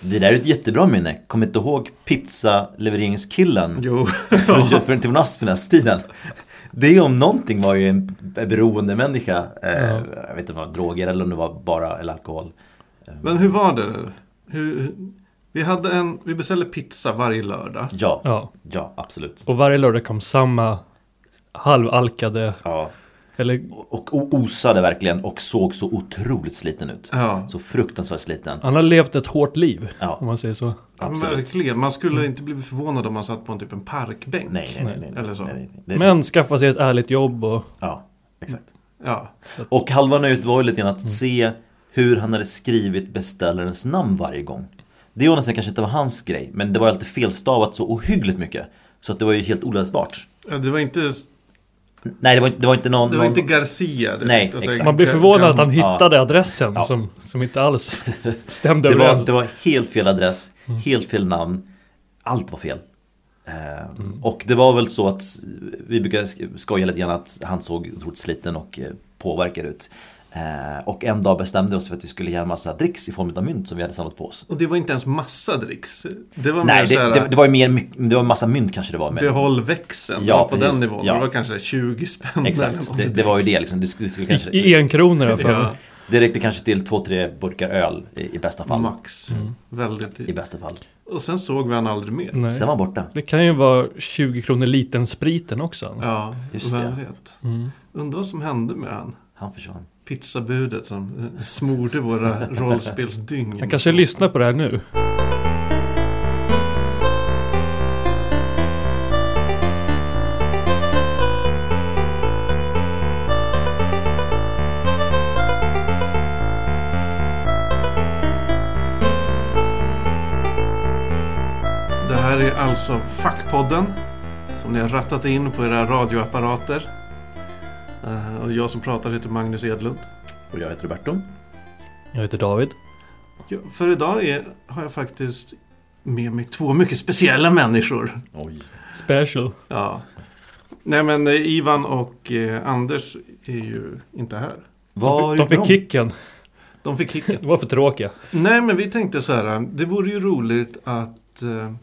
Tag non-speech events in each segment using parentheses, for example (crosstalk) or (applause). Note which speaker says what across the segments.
Speaker 1: Det där är ett jättebra minne. Kommer inte ihåg pizzalevereringskillen? (laughs)
Speaker 2: Jo.
Speaker 1: från, från, från Aspenäs-tiden. Det om någonting var ju en beroendemänniska. Eh,
Speaker 2: Ja.
Speaker 1: Jag vet inte om det var droger eller om det var bara eller alkohol. Eh,
Speaker 3: Men hur var det nu? Hur, hur- vi, hade en, vi beställde pizza varje lördag.
Speaker 1: Ja,
Speaker 2: Ja.
Speaker 1: ja absolut.
Speaker 2: Och varje lördag kom samma halvalkade,
Speaker 1: Ja.
Speaker 2: eller
Speaker 1: Och o- osade verkligen och såg så otroligt sliten ut.
Speaker 3: Ja,
Speaker 1: Så fruktansvärt sliten.
Speaker 2: han har levt ett hårt liv. Om
Speaker 1: Ja,
Speaker 2: man säger så.
Speaker 1: absolut. Mm.
Speaker 3: verkligen. Man skulle inte bli förvånad om man satt på en, typ en parkbänk.
Speaker 1: Nej, nej, nej. nej, nej,
Speaker 3: Eller så.
Speaker 1: nej, nej. Det-
Speaker 2: Men skaffa sig ett ärligt jobb och
Speaker 1: Ja, exakt.
Speaker 3: Ja.
Speaker 1: Och halva nöjet var ju lite grann att se hur han hade skrivit beställarens namn varje gång. Det var nästan kanske inte var hans grej, men det var alltid felstavat så ohyggligt mycket. Så att det var ju helt oläsbart.
Speaker 3: Ja, Det var inte,
Speaker 1: Nej, det var, det var inte någon...
Speaker 3: det var
Speaker 1: någon...
Speaker 3: inte Garcia. Alltså, Det
Speaker 1: Nej,
Speaker 3: var så här-
Speaker 1: exakt.
Speaker 2: man blir förvånad att han
Speaker 1: Ja.
Speaker 2: hittade adressen
Speaker 1: Ja.
Speaker 2: som, som
Speaker 1: (laughs)
Speaker 2: inte alls stämde
Speaker 1: det, var,
Speaker 2: överens.
Speaker 1: det var helt fel adress, helt fel namn. Allt var fel. Ehm, Och det var väl så att vi brukar sk- skoja lite grann att han såg otroligt sliten och eh, påverkad ut. Ehm, Och en dag bestämde vi oss för att vi skulle göra en massa dricks i form av mynt som vi hade samlat på oss.
Speaker 3: Och det var inte ens massa dricks. Det var
Speaker 1: Nej,
Speaker 3: mer så
Speaker 1: det,
Speaker 3: här,
Speaker 1: det, det var ju mer, myck- det var en massa mynt kanske det var. Men,
Speaker 3: behåll växeln.
Speaker 1: Ja,
Speaker 3: Det var på
Speaker 1: precis.
Speaker 3: den nivån.
Speaker 1: Ja.
Speaker 3: Det var kanske 20 spänn. eller
Speaker 1: exakt,
Speaker 3: något.
Speaker 1: det, det var ju det liksom. Det, skulle, det skulle kanske,
Speaker 2: I, I en krona för
Speaker 3: Ja,
Speaker 1: det räckte kanske till två, tre burkar öl i, i bästa fall. Mm.
Speaker 3: max.
Speaker 2: Mm.
Speaker 3: Väldigt.
Speaker 1: I bästa fall.
Speaker 3: Och sen såg vi han aldrig mer.
Speaker 2: Nej.
Speaker 1: Sen var han borta.
Speaker 2: Det kan ju vara 20 kronor liten spriten också.
Speaker 3: Ja,
Speaker 1: Just
Speaker 3: vem
Speaker 1: det.
Speaker 3: vet.
Speaker 2: Mm.
Speaker 3: Undrar vad som hände med han.
Speaker 1: Han försvann.
Speaker 3: Pizzabudet som eh, smorde våra rollspelsdygn.
Speaker 2: Han kanske lyssnar på det här nu.
Speaker 3: Det här är alltså Fackpodden som ni har rattat in på era radioapparater. Eh, Och jag som pratar heter Magnus Edlund.
Speaker 1: Och jag heter Roberto.
Speaker 2: Jag heter David.
Speaker 3: Ja, För idag är, har jag faktiskt med mig två mycket speciella människor.
Speaker 1: Oj.
Speaker 2: Special.
Speaker 3: Ja. Nej men eh, Ivan och eh, Anders är ju inte här.
Speaker 1: Var
Speaker 2: De fick
Speaker 1: kick.
Speaker 2: kicken.
Speaker 3: De fick kicken.
Speaker 2: (laughs) De var för tråkiga.
Speaker 3: Nej men vi tänkte så här, eh, det vore ju roligt att eh,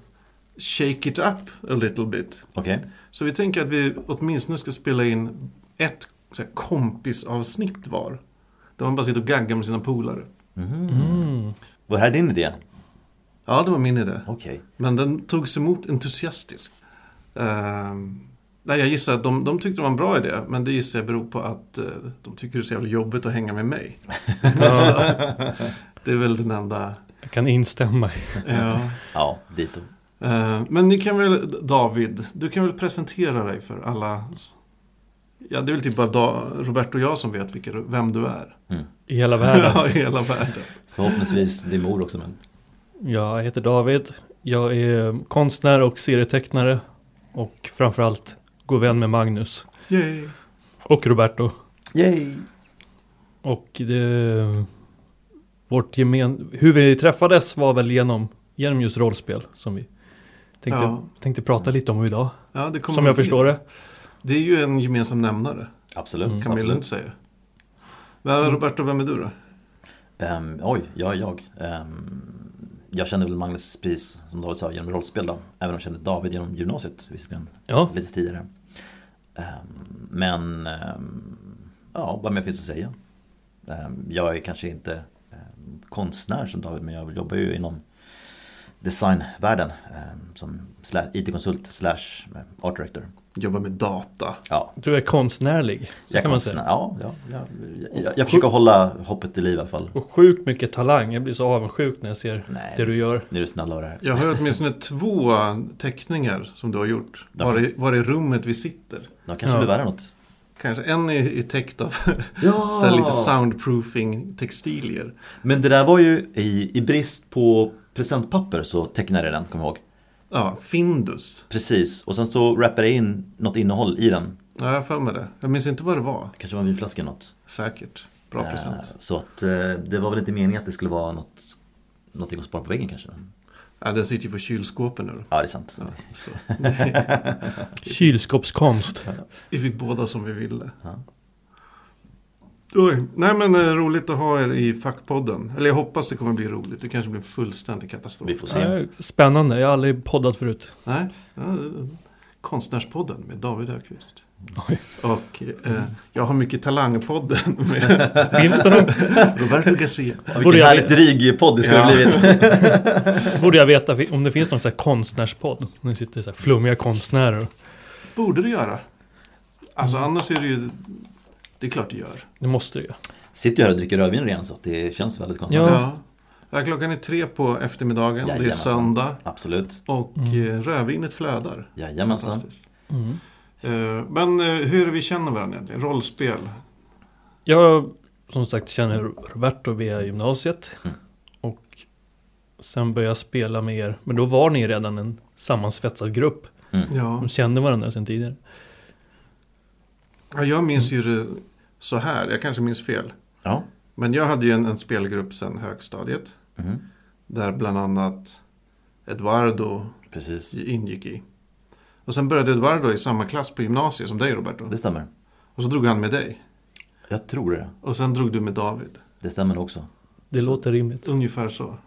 Speaker 3: shake it up a little bit.
Speaker 1: Okej.
Speaker 3: Så vi tänker att vi åtminstone ska spela in ett så här, kompisavsnitt var. Där man bara sitter och gaggar med sina polare.
Speaker 1: Mhm.
Speaker 2: Mm.
Speaker 1: Var det här din idé?
Speaker 3: Ja, det var min idé.
Speaker 1: Okej.
Speaker 3: Men den togs emot entusiastiskt. Ehm, nej, jag gissar att de, de tyckte det var en bra idé. Men det gissar jag beror på att eh, de tycker det är så jävla jobbigt att hänga med mig. (laughs) Så, det är väl den enda...
Speaker 2: Jag kan instämma.
Speaker 3: Ja.
Speaker 1: Ja, dito.
Speaker 3: Eh, men ni kan väl, David, du kan väl presentera dig för alla... Ja, det är väl typ bara da, Robert och jag som vet vilka, du- vem du är.
Speaker 2: I
Speaker 3: (laughs)
Speaker 2: hela
Speaker 1: (laughs)
Speaker 3: Ja,
Speaker 2: världen.
Speaker 3: i hela världen.
Speaker 1: Förhoppningsvis din mor också men.
Speaker 2: Jag heter David. Jag är konstnär och serietecknare. Och framförallt god vän med Magnus.
Speaker 3: Yay.
Speaker 2: Och Roberto.
Speaker 1: Yay!
Speaker 2: Och det... Vårt gemen... Hur vi träffades var väl genom, genom just rollspel. Som vi tänkte,
Speaker 3: Ja.
Speaker 2: tänkte prata lite om idag.
Speaker 3: Ja, det kommer
Speaker 2: Som jag förstår det.
Speaker 3: Det är ju en gemensam nämnare,
Speaker 1: Absolut.
Speaker 2: Mm.
Speaker 3: kan man ju
Speaker 1: absolut.
Speaker 3: lugnt säga. Men Roberto, vem är du då?
Speaker 1: Ehm, oj, jag är jag. Ehm, jag kände väl Magnus precis som David sa genom rollspel då. Även om jag kände David genom gymnasiet visserligen.
Speaker 2: Ja.
Speaker 1: Lite tidigare. Ehm, men ehm, ja, vad mer finns att säga? Ehm, jag är kanske inte ehm, konstnär som David men jag jobbar ju inom designvärlden. ehm, som sla- IT-konsult slash eh, art director.
Speaker 3: Jobbar med data.
Speaker 1: Ja,
Speaker 2: Du är konstnärlig. Så
Speaker 1: jag är
Speaker 2: kan man
Speaker 1: konstnär.
Speaker 2: säga.
Speaker 1: Ja, ja, jag, jag, jag, jag försöker hålla hoppet i liv i alla fall.
Speaker 2: Och sjukt mycket talang. Jag blir så avundsjuk när jag ser
Speaker 1: Nej,
Speaker 2: det du gör.
Speaker 1: nu är du snäll av det här.
Speaker 3: Jag har åtminstone två teckningar som du har gjort.
Speaker 1: Ja.
Speaker 3: Var i, var i rummet vi sitter.
Speaker 1: De kanske
Speaker 2: Ja.
Speaker 1: blir värre än något.
Speaker 3: Kanske en är, är täckt av
Speaker 2: Ah.
Speaker 1: Ja!
Speaker 3: så här lite soundproofing textilier.
Speaker 1: Men det där var ju i, i brist på presentpapper så tecknade jag den, kom ihåg.
Speaker 3: Ja, Findus.
Speaker 1: Precis, och sen så rappade jag in något innehåll i den.
Speaker 3: Ja, jag har för mig det. Jag minns inte vad det var.
Speaker 1: Kanske var en vinflaska eller något.
Speaker 3: Säkert. Bra
Speaker 1: Eh,
Speaker 3: present.
Speaker 1: Så att eh, det var väl inte meningen att det skulle vara något, någonting att spara på väggen kanske.
Speaker 3: Ja, den sitter ju på kylskåpen nu. då.
Speaker 1: Ja, det är sant.
Speaker 3: Ja, så.
Speaker 2: Kylskåpskonst.
Speaker 3: Vi fick båda som vi ville.
Speaker 1: Ja.
Speaker 3: Oj. Nej men eh, roligt att ha er i fackpodden. Eller jag hoppas det kommer bli roligt. Det kanske blir en fullständig katastrof.
Speaker 1: Vi får se.
Speaker 2: Eh, Spännande, jag har aldrig poddat förut.
Speaker 3: Nej. Ja, eh, Konstnärspodden med David Öqvist.
Speaker 2: Oj.
Speaker 3: Och eh, jag har mycket
Speaker 1: (laughs)
Speaker 3: talangpodden med
Speaker 2: Finns det någon?
Speaker 3: Roberto Garcia.
Speaker 1: Ja,
Speaker 2: Borde
Speaker 1: vilken
Speaker 2: jag-
Speaker 1: härligt dryg podd det skulle ha
Speaker 3: Ja.
Speaker 1: blivit.
Speaker 2: (laughs) Borde jag veta fi- om det finns någon sån här konstnärspodd? När det sitter så här flummiga konstnärer. och-
Speaker 3: Borde du göra. Alltså annars är det ju... Det är klart du gör.
Speaker 2: Det måste det ju.
Speaker 1: Sitter ju här och dricker rödvin redan så att det känns väldigt konstigt.
Speaker 2: Ja.
Speaker 3: Ja. Ja, klockan är tre på eftermiddagen. Det är
Speaker 1: Jajamensan.
Speaker 3: söndag.
Speaker 1: Absolut.
Speaker 3: Och
Speaker 2: Mm.
Speaker 3: mm. rödvinet flödar.
Speaker 1: Jajamensan.
Speaker 3: Fantastiskt.
Speaker 2: Mm.
Speaker 3: Eh, Men eh, hur är det vi känner varandra egentligen? Rollspel?
Speaker 2: Jag som sagt känner Roberto via gymnasiet.
Speaker 1: Mm.
Speaker 2: Och sen började jag spela med er. Men då var ni redan en sammansvetsad grupp.
Speaker 3: Ja.
Speaker 2: De kände varandra sedan tidigare.
Speaker 3: Ja, Jag minns ju det så här. Jag kanske minns fel.
Speaker 1: Ja.
Speaker 3: Men jag hade ju en, en spelgrupp sedan högstadiet.
Speaker 1: Mhm.
Speaker 3: Där bland annat Eduardo
Speaker 1: Precis.
Speaker 3: ingick i. Och sen började Eduardo i samma klass på gymnasiet som dig Roberto.
Speaker 1: Det stämmer.
Speaker 3: Och så drog han med dig.
Speaker 1: Jag tror det.
Speaker 3: Och sen drog du med David.
Speaker 1: Det stämmer också.
Speaker 2: Det
Speaker 3: Så- Mm.
Speaker 2: låter rimligt.
Speaker 3: Ungefär så.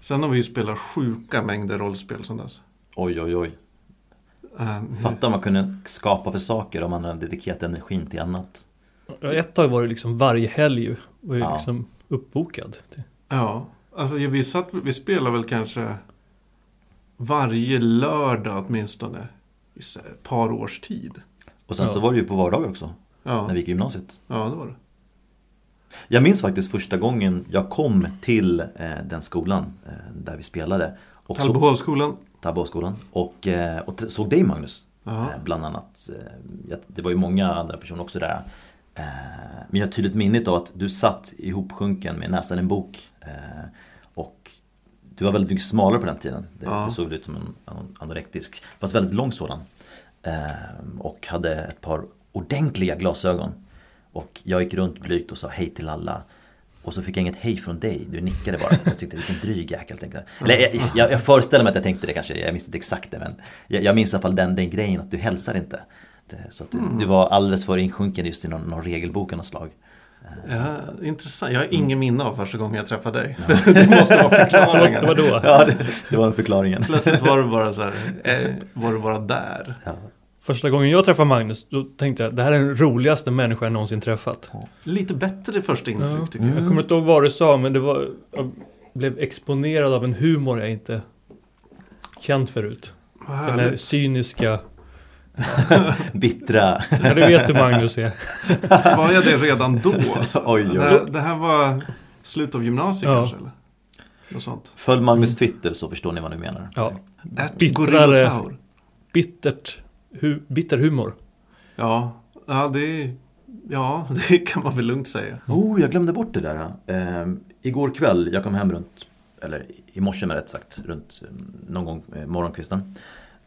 Speaker 3: Sen har vi ju spelat sjuka mängder rollspel sedan dess.
Speaker 1: Oj, oj, oj.
Speaker 3: Ehm,
Speaker 1: Fatta vad man kunde skapa för saker om man hade dedikerat energin till annat.
Speaker 2: Ja, Ett tag var det liksom varje helg ju- var ju
Speaker 1: Ja.
Speaker 2: liksom uppbokad. Det-
Speaker 3: Ja, alltså ja, vi, satt, vi spelade väl kanske varje lördag åtminstone i s- ett par års tid.
Speaker 1: Och sen så
Speaker 2: Ja.
Speaker 1: var det ju på vardagar också,
Speaker 3: Ja,
Speaker 1: när vi gick i gymnasiet.
Speaker 3: ja det var det.
Speaker 1: Jag minns faktiskt första gången jag kom till eh, den skolan eh, där vi spelade. Och så-
Speaker 3: Tallbehovsskolan.
Speaker 1: Taboskolan. Och, eh, och t- såg dig Magnus.
Speaker 3: Ja.
Speaker 1: Eh, Bland annat. Eh, jag- Det var ju många andra personer också där. Eh, Men jag har ett tydligt minne av att du satt ihopsjunken med näsan i en bok. Eh, Och du var väldigt mycket smalare på den tiden. Det,
Speaker 3: Ja.
Speaker 1: det såg ut som en an- anorektisk. Fast väldigt lång sådan. Eh, Och hade ett par ordentliga glasögon. Och jag gick runt blygt och sa hej till alla. Och så fick jag inget hej från dig, du nickade bara. Jag tyckte vilken dryg jäkel tänkte jag. Eller jag, jag, jag föreställer mig att jag tänkte det kanske, jag minns inte exakt det men jag, jag minns i alla fall den, den grejen att du hälsar inte. Det, så att du, du var alldeles för insjunken just i någon, någon regelbok av något slag.
Speaker 3: Ja, intressant. Jag har
Speaker 1: Mm.
Speaker 3: ingen minne av första gången jag träffade dig. (laughs) det måste vara
Speaker 2: (laughs) Det var
Speaker 3: förklaringen.
Speaker 2: då.
Speaker 1: (laughs) Ja, det, det var förklaringen.
Speaker 3: Plötsligt var du bara så här, eh, var du bara där.
Speaker 1: Ja.
Speaker 2: Första gången jag träffade Magnus, då tänkte jag det här är den roligaste människan jag någonsin träffat.
Speaker 3: Lite bättre första intryck
Speaker 2: Ja. Mm.
Speaker 3: tycker jag.
Speaker 2: Jag kommer inte ihåg vad du sa, men det var, jag blev exponerad av en humor jag inte känt förut.
Speaker 3: Vad
Speaker 2: Den där
Speaker 3: härligt.
Speaker 2: cyniska,
Speaker 1: Bittra.
Speaker 2: ja, du vet hur Magnus är.
Speaker 3: Var jag det redan
Speaker 1: (laughs)
Speaker 3: då? Alltså,
Speaker 1: Oj, oj.
Speaker 3: Det, här, det här var slut av gymnasiet
Speaker 2: Ja.
Speaker 3: kanske? Eller? Något sånt.
Speaker 1: Följ Magnus Twitter så förstår ni vad ni menar.
Speaker 2: Ja,
Speaker 3: At
Speaker 2: Bittrare.
Speaker 3: Gorillotaur.
Speaker 2: bittert, hu, bitter humor.
Speaker 3: Ja, ja, det, ja, (laughs) det kan man väl lugnt säga.
Speaker 1: Oh, jag glömde bort det där. Eh, igår kväll, jag kom hem runt, eller i morse med rätt sagt, runt eh, någon gång eh, morgonkvisten.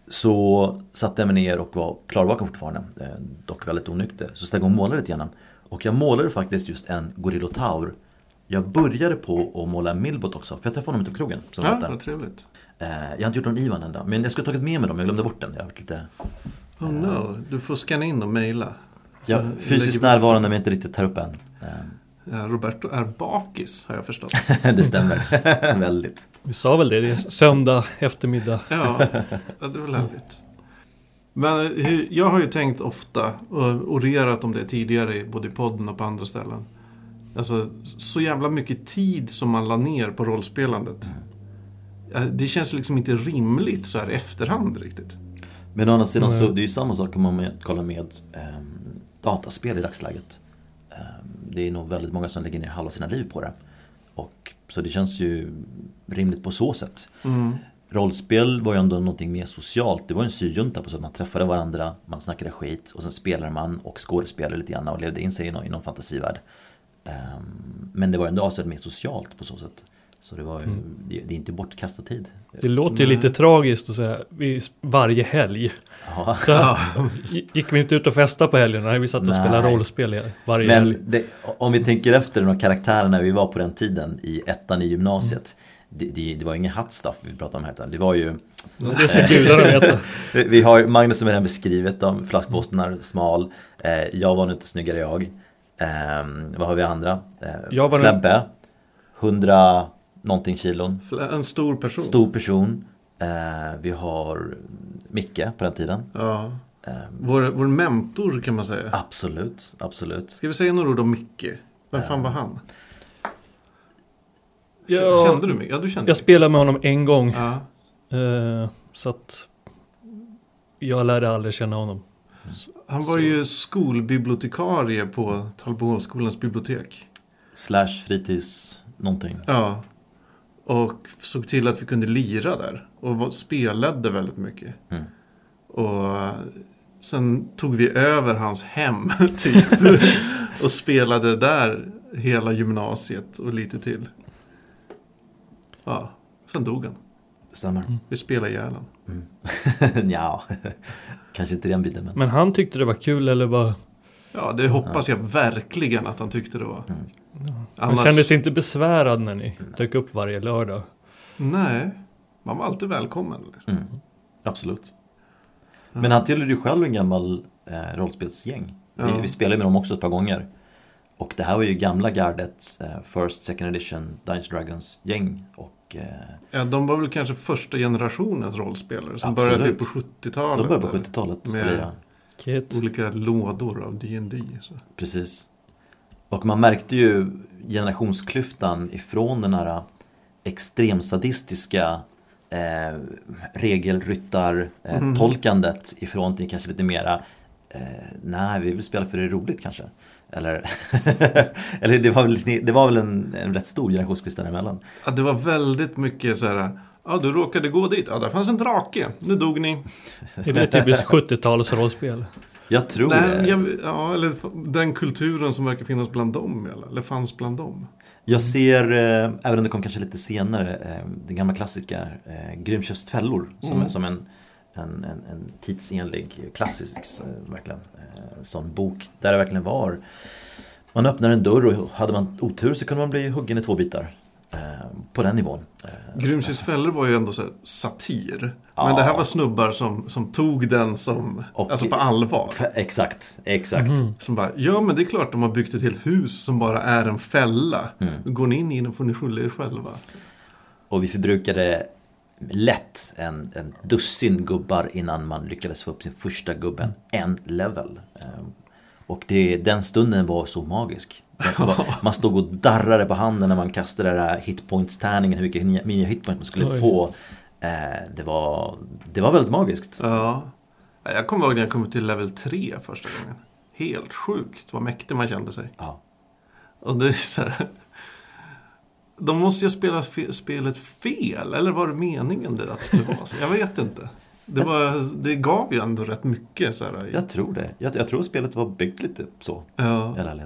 Speaker 1: Så satte jag mig ner och var klarvaken fortfarande, eh, dock väldigt onykter. Så steg och målade lite grann. Och jag målade faktiskt just en gorillotaur. Jag började på att måla en Milbot också, för jag träffade honom ute på krogen. Som
Speaker 3: Ja,
Speaker 1: var där.
Speaker 3: vad trevligt.
Speaker 1: Eh, jag har inte gjort någon Ivan än då, men jag skulle ha tagit med mig dem, jag glömde bort den. Jag har varit lite
Speaker 3: Oh no, du får scanna in och mejla. Så
Speaker 1: jag,
Speaker 3: lägger
Speaker 1: fysiskt
Speaker 3: vi-
Speaker 1: närvarande men inte riktigt här uppe än.
Speaker 3: Ja, Roberto är bakis har jag förstått.
Speaker 1: Eh, (laughs) det
Speaker 3: (laughs)
Speaker 1: stämmer, väldigt.
Speaker 2: Vi sa väl det, det är söndag eftermiddag.
Speaker 3: Ja, ja det är väl härligt. Men eh, hur, jag har ju tänkt ofta och orerat om det tidigare i- både i podden och på andra ställen. Alltså så jävla mycket tid som man la ner på rollspelandet. Ja, Det känns liksom inte rimligt så här i efterhand riktigt.
Speaker 1: Men å andra sidan
Speaker 2: Nej.
Speaker 1: så det är ju samma sak om man kollar med ehm, dataspel i dagsläget. Ehm, det är nog väldigt många som lägger ner halva sina liv på det. Och, så det känns ju rimligt på så sätt.
Speaker 3: Mm.
Speaker 1: Rollspel var ju ändå någonting mer socialt. Det var en syjunta på så att man träffade varandra, man snackade skit och sen spelade man och skådespelade lite grann och levde in sig i någon, i någon fantasivärld. Ehm, men det var ändå avsevärt mer socialt på så sätt. Så det var ju, det, det är inte bortkastad tid.
Speaker 2: Det låter ju lite tragiskt att säga vi, varje helg.
Speaker 1: Ja.
Speaker 2: Så, gick vi inte ut och festade på helgerna? Nej, vi satt och
Speaker 1: Nej.
Speaker 2: spelade rollspel varje helg.
Speaker 1: Men det, om vi tänker efter de här karaktärerna vi var på den tiden i ettan i gymnasiet.
Speaker 2: Mm.
Speaker 1: Det, det, det var ingen hatstuff vi pratade om här utan det var ju
Speaker 2: Det ska gudarna veta.
Speaker 1: vi- Vi
Speaker 2: Mm.
Speaker 1: har ju Magnus som redan beskrivet dem, flaskposten är smal eh, Jag var nog inte snyggare jag Ehm, vad har vi andra?
Speaker 2: Jag
Speaker 1: Eh,
Speaker 2: var den-
Speaker 1: Flebbe, 100 någonting kilon,
Speaker 3: Fla- En stor person.
Speaker 1: stor person. Eh, vi har Micke på den tiden.
Speaker 3: Ja.
Speaker 1: Ehm, Ah.
Speaker 3: Vår, vår mentor kan man säga.
Speaker 1: absolut, absolut.
Speaker 3: Ska vi säga några ord om Micke? Vem
Speaker 1: Ehm.
Speaker 3: fan var han? K-
Speaker 2: Ja.
Speaker 3: Kände du Micke? Ja, du kände
Speaker 2: Jag
Speaker 3: Micke.
Speaker 2: spelade med honom en gång.
Speaker 3: Ja.
Speaker 2: Eh, så att jag lärde aldrig känna honom.
Speaker 3: Han var
Speaker 2: Så.
Speaker 3: ju skolbibliotekarie på Talbohögskolans bibliotek.
Speaker 1: Slash fritids någonting.
Speaker 3: Ja. Och såg till att vi kunde lira där. Och var- spelade väldigt mycket.
Speaker 1: Mm.
Speaker 3: Och eh, sen tog vi över hans hem (laughs)
Speaker 1: (laughs)
Speaker 3: typ. och spelade där hela gymnasiet och lite till. Ja, sen dog han.
Speaker 1: Stämmer.
Speaker 3: Vi spelade ihjäl honom.
Speaker 1: Mm. (laughs) ja, kanske inte den biten men.
Speaker 2: Men han tyckte det var kul eller var...
Speaker 3: Ja, det hoppas jag verkligen att han tyckte det var.
Speaker 1: Mm.
Speaker 2: Han kände sig inte besvärad när ni dök upp varje lördag.
Speaker 3: Nej, man var alltid välkommen.
Speaker 1: Mm. Absolut. Men han tillhörde ju själv en gammal eh, rollspelsgäng.
Speaker 3: Ja.
Speaker 1: Vi, vi spelade med dem också ett par gånger. Och det här var ju gamla gardet, eh, First, Second Edition, Dungeons Dragons gäng. Och eh,
Speaker 3: Ja, de var väl kanske första generationens rollspelare som
Speaker 1: Absolut.
Speaker 3: började typ på
Speaker 1: de
Speaker 3: 70-talet.
Speaker 1: började på
Speaker 3: där.
Speaker 1: 70-talet.
Speaker 3: Med-
Speaker 1: Med...
Speaker 2: Kit.
Speaker 3: Olika lådor av D&D. så.
Speaker 1: Precis. Och man märkte ju generationsklyftan ifrån den här extremsadistiska eh,
Speaker 3: Mm.
Speaker 1: regelryttar-tolkandet ifrån till kanske lite mera eh, Nej, vi vill spela för det är roligt kanske. Eller, (laughs) eller det var väl, det var väl en, en rätt stor generationsklyfta däremellan.
Speaker 3: Ja, det var väldigt mycket så här. Ja, du råkade gå dit. Ja, där fanns en drake. Nu dog ni.
Speaker 2: Är det
Speaker 1: (laughs)
Speaker 2: typiskt 70-tals rollspel?
Speaker 1: Jag tror
Speaker 3: Nej,
Speaker 1: det.
Speaker 3: jag, ja, eller den kulturen som verkar finnas bland dem. Eller, eller fanns bland dem.
Speaker 1: Jag ser, eh, även om det kom kanske lite senare, eh, den gamla klassiska eh, Grymköps tvällor som,
Speaker 3: Mm.
Speaker 1: som en, en, en, en tidsenlig klassisk eh, verkligen, eh, sån bok där det verkligen var. Man öppnar en dörr och hade man otur så kunde man bli huggen i två bitar. Eh, på den nivån. Eh,
Speaker 3: Grimsys fällor var ju ändå så här, satir.
Speaker 1: Ja.
Speaker 3: Men det här var snubbar som, som tog den som,
Speaker 1: Och-
Speaker 3: alltså på allvar.
Speaker 1: exakt, exakt.
Speaker 3: Som bara, ja men det är klart de har byggt ett helt hus som bara är en fälla.
Speaker 1: Mm.
Speaker 3: Går ni in i den får ni skylla er själva.
Speaker 1: Och vi förbrukade lätt en, en dussin gubbar innan man lyckades få upp sin första gubben, en level. Ehm, Och det, den stunden var så magisk. Det
Speaker 2: (laughs)
Speaker 1: var- Man stod och darrade på handen när man kastade den där hitpoints-tärningen, hur mycket nya- nya hitpoints man skulle
Speaker 2: Oj.
Speaker 1: få. Eh, Det var, det var väldigt magiskt.
Speaker 3: Ja. Ja, Jag kommer ihåg när jag kom till level 3 första gången. Helt sjukt vad mäktig man kände sig.
Speaker 1: Ja.
Speaker 3: Och det är så här, (laughs) de måste ju ha spelat fe- spelet fel, eller var det meningen det att det skulle vara så? Jag vet inte. Det, var, det gav ju ändå rätt mycket. Så här, i-
Speaker 1: Jag tror det. Jag, jag tror spelet var byggt lite så,
Speaker 3: ja,
Speaker 1: i alla fall.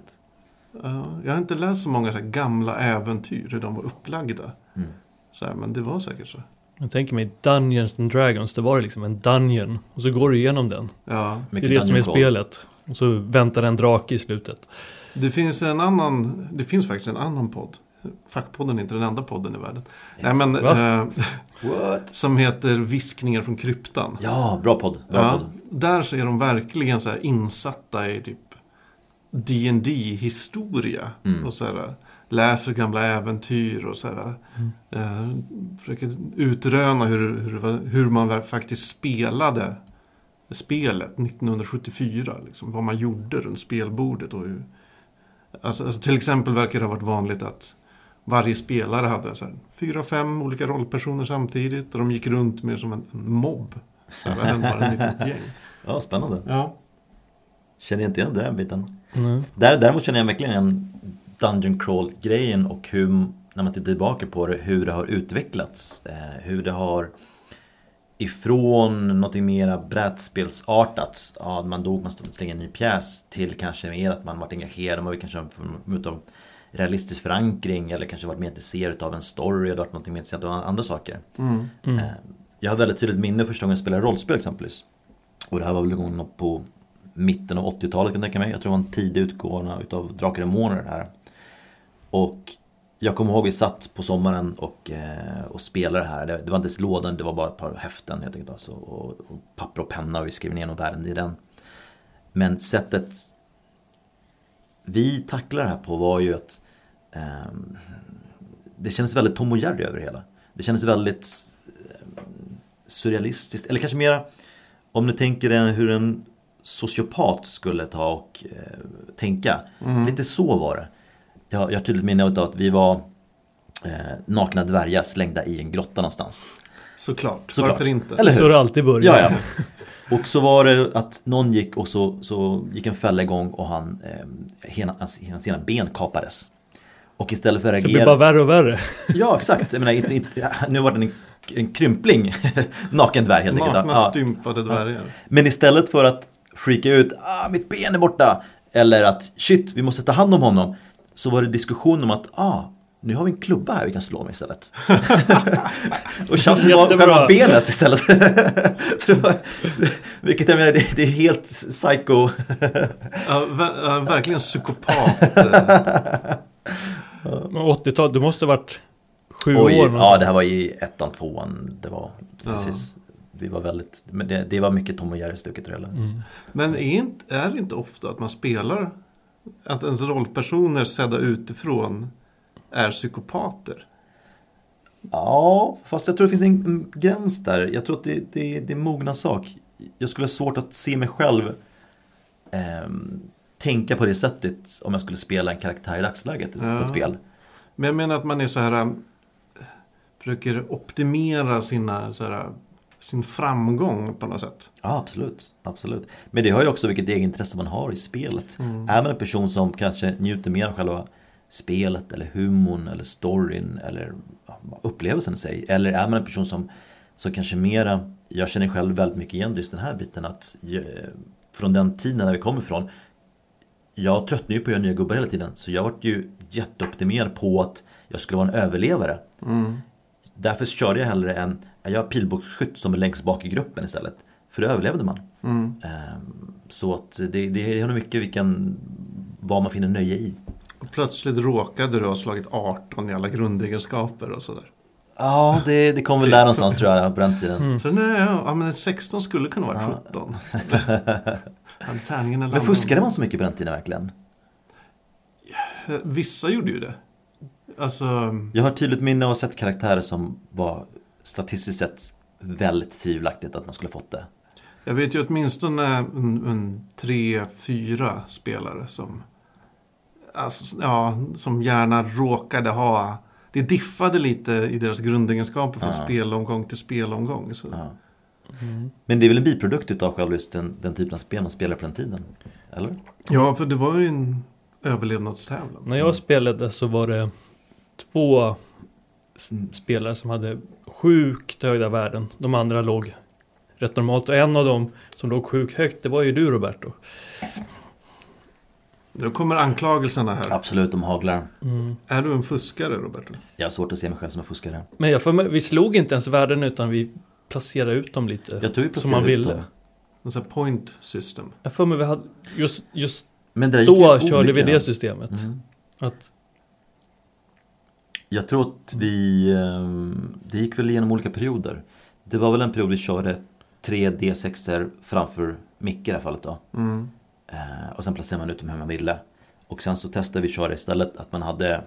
Speaker 3: ja. jag har inte läst så många så här, gamla äventyr, hur de var upplagda.
Speaker 1: Mm.
Speaker 3: Så här, men det var säkert så.
Speaker 2: Jag tänker mig Dungeons and Dragons, det var ju liksom en dungeon. Och så går du igenom den.
Speaker 3: Ja.
Speaker 1: Mycket
Speaker 2: det är det som är
Speaker 1: dungeon crawl.
Speaker 2: spelet. Och så väntar en drake i slutet.
Speaker 3: Det finns en annan, det finns faktiskt en annan podd. Fackpodden är inte den enda podden i världen. Nej, men,
Speaker 2: Va?
Speaker 3: eh,
Speaker 1: What?
Speaker 3: som heter Viskningar från kryptan.
Speaker 1: Ja, bra podd. Bra
Speaker 3: Ja,
Speaker 1: podd.
Speaker 3: där så är de verkligen så här insatta i typ dd historia
Speaker 1: Mm.
Speaker 3: Och så här, läser gamla äventyr och så här, eh, försöker utröna hur, hur, det var- hur man väl faktiskt spelade spelet 1974. Liksom, vad man gjorde runt spelbordet. Och hur, alltså, alltså, till exempel verkar det ha varit vanligt att varje spelare hade så här, fyra, fem olika rollpersoner samtidigt. Och de gick runt mer som en, en mobb. Så här, än bara en litet gäng.
Speaker 1: Ja, spännande.
Speaker 3: Ja.
Speaker 1: Känner inte igen den biten.
Speaker 2: Mm.
Speaker 1: Där, däremot känner jag verkligen igen Dungeon Crawl-grejen och hur, när man tittar tillbaka på det, hur det har utvecklats. Eh, hur det har ifrån någonting mera brädspelsartat, ja, man dog, man stod och slängde en ny pjäs, till kanske mer att man varit engagerad, man kanske har en form av realistisk förankring eller kanske varit mer intresserad av en story eller varit något mer intresserad av andra saker.
Speaker 3: Mm.
Speaker 2: Mm.
Speaker 1: Eh, Jag har väldigt tydligt minne första gången jag spelade rollspel exempelvis. Och det här var väl gången på mitten av 80-talet kan jag tänka mig. Jag tror det var en tidig utgåva utav Drakar och Demoner det här. Och jag kommer ihåg vi satt på sommaren och, eh, och spelade det här. Det, det var inte ens lådan, det var bara ett par häften helt enkelt. Alltså, och, och papper och penna och vi skrev ner någon värden i den. Men sättet vi tacklade det här på var ju att eh, det kändes väldigt Tom och Jerry över det hela. Det kändes väldigt eh, surrealistiskt, eller kanske mera om ni tänker er hur en sociopat skulle ta och eh, tänka.
Speaker 2: Mm.
Speaker 1: Lite så var det. Jag, jag har tydligt minne av att vi var eh, nakna dvärgar slängda i en grotta någonstans.
Speaker 3: Såklart.
Speaker 1: Såklart.
Speaker 3: Varför inte?
Speaker 1: Eller hur?
Speaker 2: Så det alltid börjar.
Speaker 1: Ja, ja. Och så var det att någon gick och så, så gick en fälla igång och han, eh, hena, hans, hans ena ben kapades. Och istället för att
Speaker 2: Så det blir bara
Speaker 1: reagera...
Speaker 2: värre och värre.
Speaker 1: Ja, exakt. Jag menar, inte, inte, nu var det en, en krympling. (laughs) Naken dvärg helt enkelt.
Speaker 3: Nakna
Speaker 1: Ja.
Speaker 3: stympade dvärgar.
Speaker 1: Men istället för att freaka ut, ah, mitt ben är borta. Eller att shit, vi måste ta hand om honom. Så var det diskussion om att, ah, nu har vi en klubba här vi kan slå med
Speaker 2: (laughs)
Speaker 1: istället. och tjafset var
Speaker 2: Jättebra.
Speaker 1: själva benet istället. (laughs) så det var, vilket jag menar, det, det är helt psycho.
Speaker 3: Ja, ver- ja, verkligen psykopat. (laughs) eh,
Speaker 2: Men 80-talet, du måste ha varit sju år.
Speaker 1: Oj, ja,
Speaker 2: någonstans.
Speaker 1: det här var i ettan, tvåan. Det var precis. Vi var väldigt, men det, det var mycket Tom och Jerry-stuket. Mm.
Speaker 3: Men är, inte, är det inte ofta att man spelar, att ens rollpersoner sedda utifrån är psykopater?
Speaker 1: Ja, fast jag tror det finns en- en gräns där. Jag tror att det, det, det är en mogna sak. Jag skulle ha svårt att se mig själv ehm, tänka på det sättet om jag skulle spela en karaktär i dagsläget på
Speaker 3: Ja.
Speaker 1: ett spel.
Speaker 3: Men jag menar att man är så här, äh, försöker optimera sina, så här, sin framgång på något sätt.
Speaker 1: Ja, absolut. absolut. Men det har ju också vilket eget intresse man har i spelet. Är man en person som kanske njuter mer av själva spelet eller humorn eller storyn eller ja, upplevelsen i sig. Eller är man en person som, som kanske mera, jag känner själv väldigt mycket igen just den här biten att eh, från den tiden när vi kommer ifrån jag tröttnade ju på att göra nya gubbar hela tiden så jag vart ju jätteoptimerad på att jag skulle vara en överlevare. Mm. Därför körde jag hellre en, jag är pilbågsskytt som är längst bak i gruppen istället. För då överlevde man. Ehm, Så att det, det har nog mycket vilken, vad man finner nöje i.
Speaker 3: Och plötsligt råkade du ha slagit 18 i alla grundegenskaper och sådär.
Speaker 1: Ja, det, det kom väl där någonstans tror jag på den tiden.
Speaker 2: Mm.
Speaker 3: Så nej, ja, ja, men ett 16 skulle kunna vara ett 17. Hade tärningarna
Speaker 1: (laughs) Men
Speaker 3: landat-
Speaker 1: fuskade man så mycket på den tiden verkligen?
Speaker 3: Eh, Vissa gjorde ju det. Alltså,
Speaker 1: Jag har tydligt minne av att ha sett karaktärer som var statistiskt sett väldigt tvivelaktigt att man skulle fått det.
Speaker 3: jag vet ju åtminstone en, en tre, fyra spelare som, alltså, ja, som gärna råkade ha det diffade lite i deras grundegenskaper från
Speaker 1: Ja.
Speaker 3: spelomgång till spelomgång. Så.
Speaker 1: Ja.
Speaker 2: Mm.
Speaker 1: Men det är väl en biprodukt utav själva just den, den typen av spel man spelar på den tiden? Eller?
Speaker 3: Ja, för det var ju en överlevnadstävlan.
Speaker 2: När
Speaker 1: Mm.
Speaker 2: jag spelade så var det två s- spelare som hade sjukt höga värden. De andra låg rätt normalt. Och en av dem som låg sjukt högt, det var ju du Roberto.
Speaker 3: Nu kommer anklagelserna här.
Speaker 1: Absolut, de haglar.
Speaker 3: Är du en fuskare, Roberto?
Speaker 1: Jag har svårt att se mig själv som en fuskare.
Speaker 2: Men jag för mig, vi slog inte ens värden utan vi placerade ut dem lite.
Speaker 1: Jag tror ju
Speaker 2: som man
Speaker 1: precis ut
Speaker 2: ville.
Speaker 1: dem.
Speaker 3: En sån här point system.
Speaker 2: Jag för mig vi hade, just, just
Speaker 1: Men det där gick ju
Speaker 2: då
Speaker 1: olika.
Speaker 2: körde vi det systemet.
Speaker 1: Mm.
Speaker 2: Att,
Speaker 1: Jag tror att vi, ehm, det gick väl igenom olika perioder. Det var väl en period vi körde 3 d 6 framför Micke i det här fallet då.
Speaker 3: Mm.
Speaker 1: Eh, Och sen placerade man ut dem hur man ville. Och sen så testade vi köra istället att man hade, jag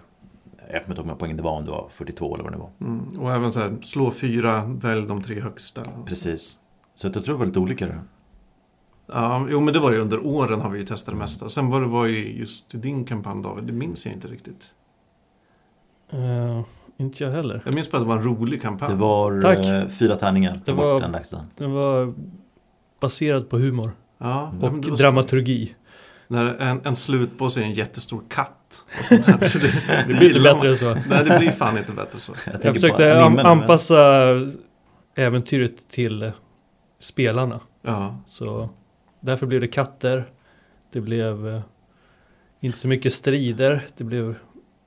Speaker 1: kommer inte ihåg hur många poäng det var, om det var 42 eller vad det var.
Speaker 3: Mm. Och även så här, slå fyra, välj de tre högsta.
Speaker 1: Precis. Så jag tror det var lite olika det.
Speaker 3: Ja, jo men det var det under åren har vi ju testat det mesta. Sen vad det var ju just i din kampanj David, det minns jag inte riktigt.
Speaker 2: eh, inte jag heller.
Speaker 3: Jag minns bara att det var en rolig kampanj.
Speaker 1: Det var
Speaker 2: Tack.
Speaker 1: eh, fyra tärningar.
Speaker 2: Det
Speaker 1: Ta bort
Speaker 2: var-
Speaker 1: den lägsta.
Speaker 2: Den var baserad på humor
Speaker 3: Ja, ja,
Speaker 2: och
Speaker 3: men det var så-
Speaker 2: dramaturgi.
Speaker 3: När en, en slut på sig är en jättestor katt. Och sånt
Speaker 2: (laughs)
Speaker 3: där. Så det,
Speaker 2: Det blir
Speaker 1: (laughs)
Speaker 2: inte
Speaker 3: gillar man.
Speaker 2: bättre än så.
Speaker 3: Nej, det blir fan inte bättre så.
Speaker 1: Jag,
Speaker 2: Jag
Speaker 1: tänker på
Speaker 2: försökte an-
Speaker 1: animen, men-
Speaker 2: anpassa äventyret till eh, spelarna.
Speaker 3: Ja.
Speaker 2: Så därför blev det katter. Det blev eh, inte så mycket strider. Det blev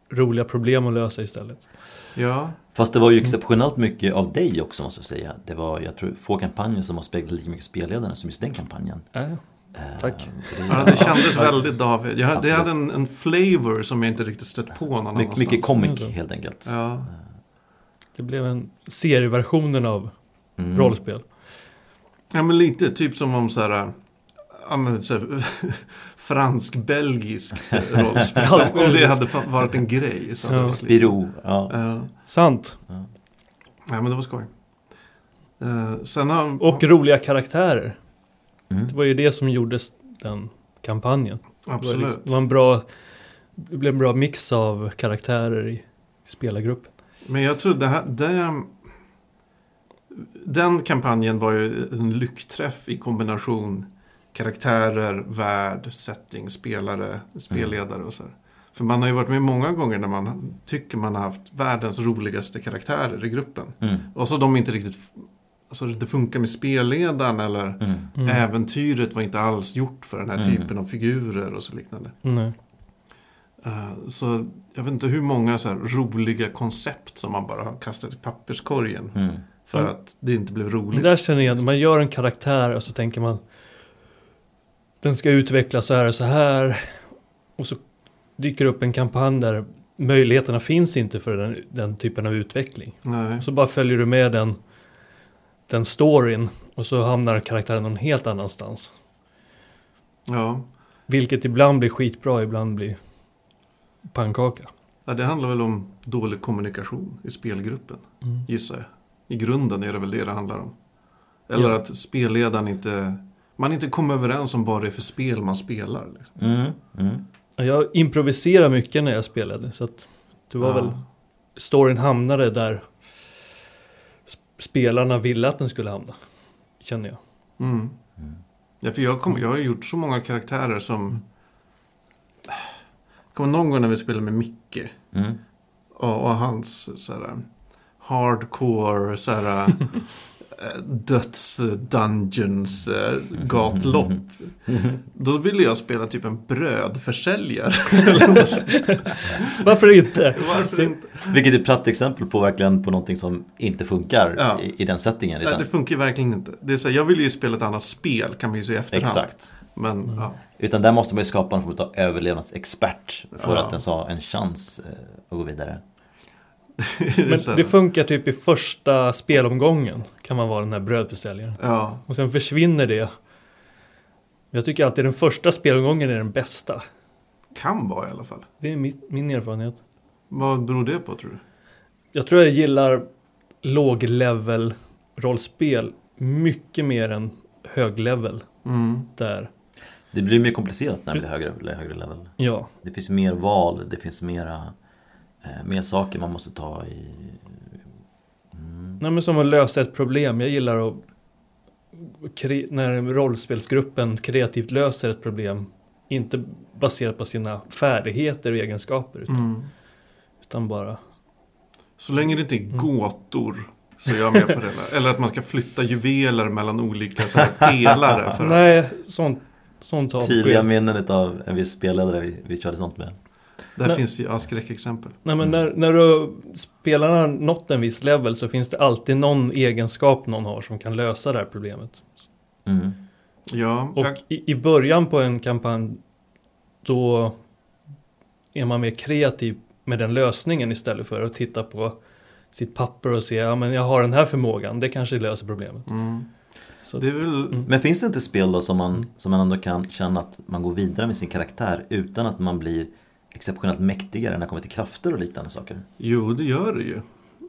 Speaker 2: roliga problem att lösa istället.
Speaker 3: ja.
Speaker 1: Fast det var
Speaker 2: Mm.
Speaker 1: ju exceptionellt mycket av dig också måste jag säga. Det var, jag tror, få kampanjer som har speglat lika mycket spelledaren som just den kampanjen.
Speaker 2: Äh,
Speaker 1: Eh,
Speaker 2: Tack.
Speaker 1: och det-
Speaker 3: ja, det kändes väldigt David. Jag, det
Speaker 1: Absolut.
Speaker 3: hade en, en flavor som jag inte riktigt stött på någon
Speaker 1: My,
Speaker 3: annanstans.
Speaker 1: mycket comic
Speaker 2: Mm.
Speaker 1: helt enkelt.
Speaker 3: Ja.
Speaker 2: det blev en serieversionen av
Speaker 1: Mm.
Speaker 2: rollspel.
Speaker 3: Ja men lite, typ som om så här, (laughs) äh, ja, men, så här fransk-belgiskt rollspel. Om det hade fa- varit en grej. Så hade det varit lite-
Speaker 1: Spiro, ja.
Speaker 3: Ja.
Speaker 2: Sant.
Speaker 3: Nej men det var skoj. Eh, sen har,
Speaker 2: Och roliga karaktärer.
Speaker 1: Mm.
Speaker 2: Det var ju det som gjordes den kampanjen. Det var, liksom,
Speaker 3: Absolut.
Speaker 2: det var en bra, det blev en bra mix av karaktärer i spelargruppen.
Speaker 3: Men jag tror det här, det, den kampanjen var ju en lyckträff i kombination karaktärer, värld, setting, spelare, spelledare och så här. För man har ju varit med många gånger när man tycker man har haft världens roligaste karaktärer i gruppen.
Speaker 1: Mm.
Speaker 3: Och så de inte riktigt, alltså det inte funkar med spelledaren eller
Speaker 1: Mm.
Speaker 2: Mm.
Speaker 3: äventyret var inte alls gjort för den här
Speaker 1: Mm.
Speaker 3: typen av figurer och så liknande.
Speaker 2: Nej.
Speaker 3: Eh, Så jag vet inte hur många så här roliga koncept som man bara har kastat i papperskorgen.
Speaker 1: Mm.
Speaker 3: För
Speaker 2: Mm.
Speaker 3: att det inte blev
Speaker 2: Men
Speaker 3: roligt.
Speaker 2: där känner jag igen, man gör en karaktär och så tänker man den ska utvecklas så här och så här. Och så dyker upp en kampanj där möjligheterna finns inte för den, den typen av utveckling.
Speaker 3: Nej.
Speaker 2: Så bara följer du med den, den storyn och så hamnar karaktären någon helt annanstans.
Speaker 3: Ja.
Speaker 2: Vilket ibland blir skitbra, ibland blir pannkaka.
Speaker 3: ja, det handlar väl om dålig kommunikation i spelgruppen. Gissar jag. I grunden är det väl det det handlar om. Eller
Speaker 2: Ja.
Speaker 3: att spelledaren inte... Man inte kommer överens om vad det är för spel man spelar. Liksom.
Speaker 1: Mm. Mm.
Speaker 2: Ja, Jag improviserar mycket när jag spelade så att det var
Speaker 3: Ja.
Speaker 2: väl storyn hamnade där sp- spelarna ville att den skulle hamna. Känner jag. (laughs)
Speaker 3: Mm.
Speaker 1: Mm.
Speaker 3: Ja, för jag, kom, jag har gjort så många karaktärer
Speaker 2: Mm.
Speaker 3: som... Jag kommer någon gång när vi spelade med Micke.
Speaker 1: Mm.
Speaker 3: Ja, och hans så här, hardcore så
Speaker 2: (laughs)
Speaker 3: här, eh, döds dungeons eh, gatlopp. Då ville jag spela typ en
Speaker 2: (laughs)
Speaker 3: brödförsäljare. (laughs) Eller något sånt.
Speaker 2: Varför inte?
Speaker 3: Varför inte?
Speaker 1: (laughs) Vilket är ett praktexempel på verkligen på någonting som inte funkar
Speaker 3: Ja.
Speaker 1: i, i den settingen
Speaker 3: Nej,
Speaker 1: redan.
Speaker 3: det funkar ju verkligen inte. Det är så här, jag ville ju spela ett annat spel kan man ju säga i efterhand.
Speaker 1: Exakt.
Speaker 3: Men
Speaker 2: Mm.
Speaker 3: ja, (laughs)
Speaker 1: Utan där måste man ju skapa någon form av överlevnadsexpert för
Speaker 3: Ja.
Speaker 1: att ens ha en chans eh, att gå vidare.
Speaker 3: det är så
Speaker 2: Men
Speaker 3: här,
Speaker 2: det funkar typ i första spelomgången kan man vara den här brödförsäljaren.
Speaker 3: ja,
Speaker 2: Och sen försvinner det. Jag tycker alltid den första spelomgången är den bästa.
Speaker 3: kan vara i alla fall.
Speaker 2: Det är mitt, min erfarenhet.
Speaker 3: Vad beror det på tror du?
Speaker 2: Jag tror jag gillar låg-level rollspel mycket mer än hög-level.
Speaker 3: Mm.
Speaker 2: Där,
Speaker 1: Det blir mer komplicerat när det blir högre, eller högre level.
Speaker 2: ja.
Speaker 1: Det finns mer val, det finns mera, eh, mer saker man måste ta i. Mm.
Speaker 2: Nej, men som att lösa ett problem. Jag gillar att kre- när rollspelsgruppen kreativt löser ett problem. Inte baserat på sina färdigheter och egenskaper. Utan,
Speaker 3: Mm.
Speaker 2: utan bara...
Speaker 3: Så länge det inte
Speaker 2: Mm.
Speaker 3: är gåtor så är jag med på det. där. Eller att man ska flytta juveler mellan olika så här pelare.
Speaker 2: (laughs)
Speaker 3: För att-
Speaker 2: Nej, sånt, sånt har
Speaker 1: Tidiga minnen utav en viss spelledare vi, vi körde sånt med.
Speaker 3: Där
Speaker 2: Nej.
Speaker 3: finns ju ja, skräckexempel.
Speaker 2: Nej, men när, när du, spelarna har nått en viss level så finns det alltid någon egenskap någon har som kan lösa det här problemet.
Speaker 1: Mm.
Speaker 3: Ja,
Speaker 2: Och
Speaker 3: jag,
Speaker 2: i, i början på en kampanj då är man mer kreativ med den lösningen istället för att titta på sitt papper och se, ja men jag har den här förmågan, det kanske löser problemet.
Speaker 3: mm.
Speaker 2: Så,
Speaker 3: det är väl,
Speaker 2: Mm.
Speaker 1: Men finns det inte spel då som man,
Speaker 2: Mm.
Speaker 1: som man ändå kan känna att man går vidare med sin karaktär utan att man blir exceptionellt mäktigare när det kommer till krafter och liknande saker?
Speaker 3: jo det gör det ju.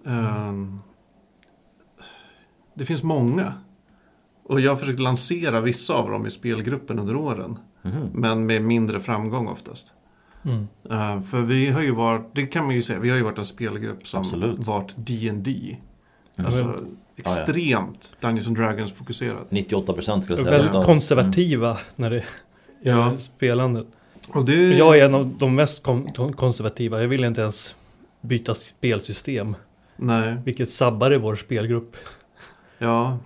Speaker 3: Ehm, det finns många. Och jag har försökt lansera vissa av dem i spelgruppen under åren.
Speaker 1: Mhm.
Speaker 3: Men med mindre framgång oftast.
Speaker 2: mm,
Speaker 3: Ehm, för vi har ju varit, det kan man ju säga, vi har ju varit en spelgrupp som
Speaker 1: Absolut.
Speaker 3: varit D&D
Speaker 1: Mm.
Speaker 3: Alltså
Speaker 1: ja.
Speaker 3: extremt Dungeons and Dragons fokuserat.
Speaker 1: 98% skulle jag säga. Mm.
Speaker 2: väldigt
Speaker 1: utav-
Speaker 2: konservativa när det
Speaker 3: Ja,
Speaker 2: gäller spelandet.
Speaker 3: och det...
Speaker 2: Jag är en av de mest kon- konservativa, jag vill inte ens byta spelsystem.
Speaker 3: Nej,
Speaker 2: Vilket sabbade vår spelgrupp.
Speaker 3: ja.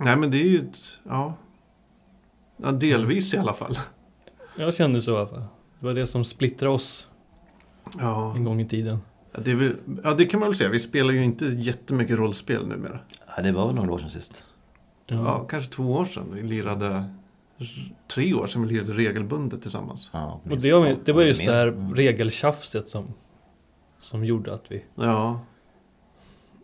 Speaker 3: Nej men det är ju ett, ja. ja. Delvis i alla fall.
Speaker 2: Jag kände så i alla fall. Det var det som splittrade oss
Speaker 3: Ja.
Speaker 2: en gång i tiden.
Speaker 3: Ja, Det, är väl, ja, det kan man väl säga. Vi spelar ju inte jättemycket rollspel numera.
Speaker 1: Mm. Ja, det var väl några år sedan sist.
Speaker 3: Ja. kanske två år sedan vi lirade, tre år sedan vi lirade regelbundet tillsammans.
Speaker 1: Ja,
Speaker 2: Och
Speaker 1: minst.
Speaker 2: det, var- det var
Speaker 1: Ja,
Speaker 2: just
Speaker 1: mer.
Speaker 2: det här
Speaker 1: Mm.
Speaker 2: regeltjafset som, som gjorde att vi...
Speaker 3: Ja.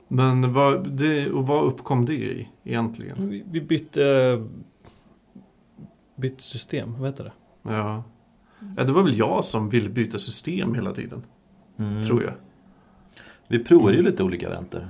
Speaker 3: Men vad, det, och vad uppkom det i
Speaker 2: Mm.
Speaker 3: egentligen?
Speaker 2: Vi, vi bytte... Bytte eh, system, vad heter det?
Speaker 3: Ja. ja, det var väl jag som ville byta system hela tiden,
Speaker 1: Mm.
Speaker 3: tror jag.
Speaker 1: Vi provade ju lite olika varianter.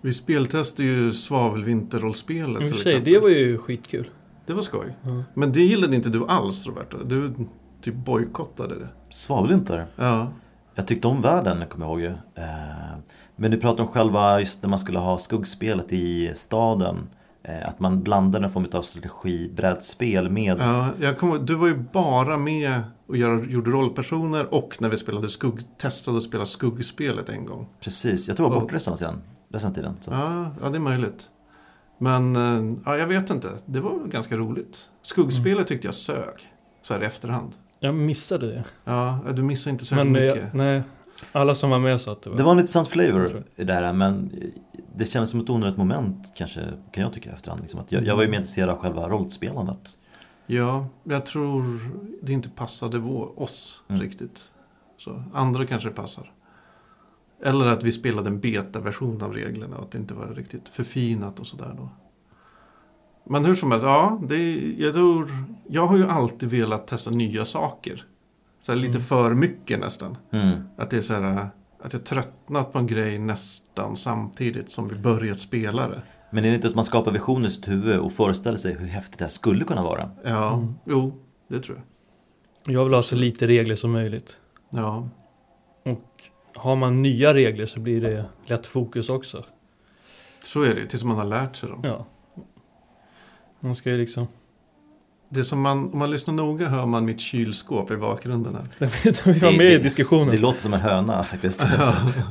Speaker 3: Vi speltestade ju Svavelvinterrollspelet
Speaker 2: I och
Speaker 3: till
Speaker 2: för sig,
Speaker 3: exempel.
Speaker 2: det var ju skitkul.
Speaker 3: det var skoj.
Speaker 2: Ja.
Speaker 3: Men det gillade inte du alls Roberto. Du typ bojkottade det.
Speaker 1: Svavelvinter.
Speaker 3: Ja.
Speaker 1: Jag tyckte om världen, kommer jag ihåg. ju. Eh, Men du pratade om själva, just när man skulle ha skuggspelet i staden. eh, Att man blandade en form av strategibrädspel med...
Speaker 3: Ja, jag kommer, ihåg, du var ju bara med och gör, gjorde rollpersoner och när vi spelade skugg, testade att spela skuggspelet en gång.
Speaker 1: Precis, jag tror jag var
Speaker 3: Och-
Speaker 1: bortrest sen. Resten av tiden. Så.
Speaker 3: Ja, ja, det är möjligt. Men eh, ja, jag vet inte, det var ganska roligt. Skuggspelet
Speaker 2: Mm.
Speaker 3: tyckte jag sög, så här i efterhand.
Speaker 2: Jag missade det.
Speaker 3: Ja, du missar inte särskilt
Speaker 2: Men eh,
Speaker 3: mycket.
Speaker 2: nej, alla som var med sa att det var...
Speaker 1: Det var en intressant flavor
Speaker 2: Tror
Speaker 1: i det här men det kändes som ett onödigt moment kanske kan jag tycka efterhand. Liksom. Att jag, jag var ju mer intresserad av själva rollspelandet.
Speaker 3: Ja, jag tror det inte passade vår, oss
Speaker 1: Mm.
Speaker 3: riktigt. Så andra kanske passar. Eller att vi spelade en betaversion av reglerna och att det inte var riktigt förfinat och sådär då. Men hur som helst, ja, det, jag tror... Jag har ju alltid velat testa nya saker. Så här lite
Speaker 2: Mm.
Speaker 3: för mycket nästan.
Speaker 1: Mm.
Speaker 3: Att det är så här, att jag tröttnat på en grej nästan samtidigt som vi börjat spela det.
Speaker 1: Men är det inte att man skapar visioner i sitt huvud och föreställer sig hur häftigt det här skulle kunna vara?
Speaker 3: Ja,
Speaker 2: Mm.
Speaker 3: jo, det tror jag.
Speaker 2: Jag vill ha så lite regler som möjligt.
Speaker 3: Ja,
Speaker 2: Har man nya regler så blir det lätt fokus också.
Speaker 3: så är det ju, tills man har lärt sig dem.
Speaker 2: Ja. Man ska ju liksom... (laughs)
Speaker 3: Det som man, om man lyssnar noga hör man mitt kylskåp i bakgrunden här.
Speaker 2: Vi var
Speaker 1: Det-
Speaker 2: med i
Speaker 1: det-
Speaker 2: diskussionen.
Speaker 1: Det låter som en höna
Speaker 2: (laughs)
Speaker 1: faktiskt.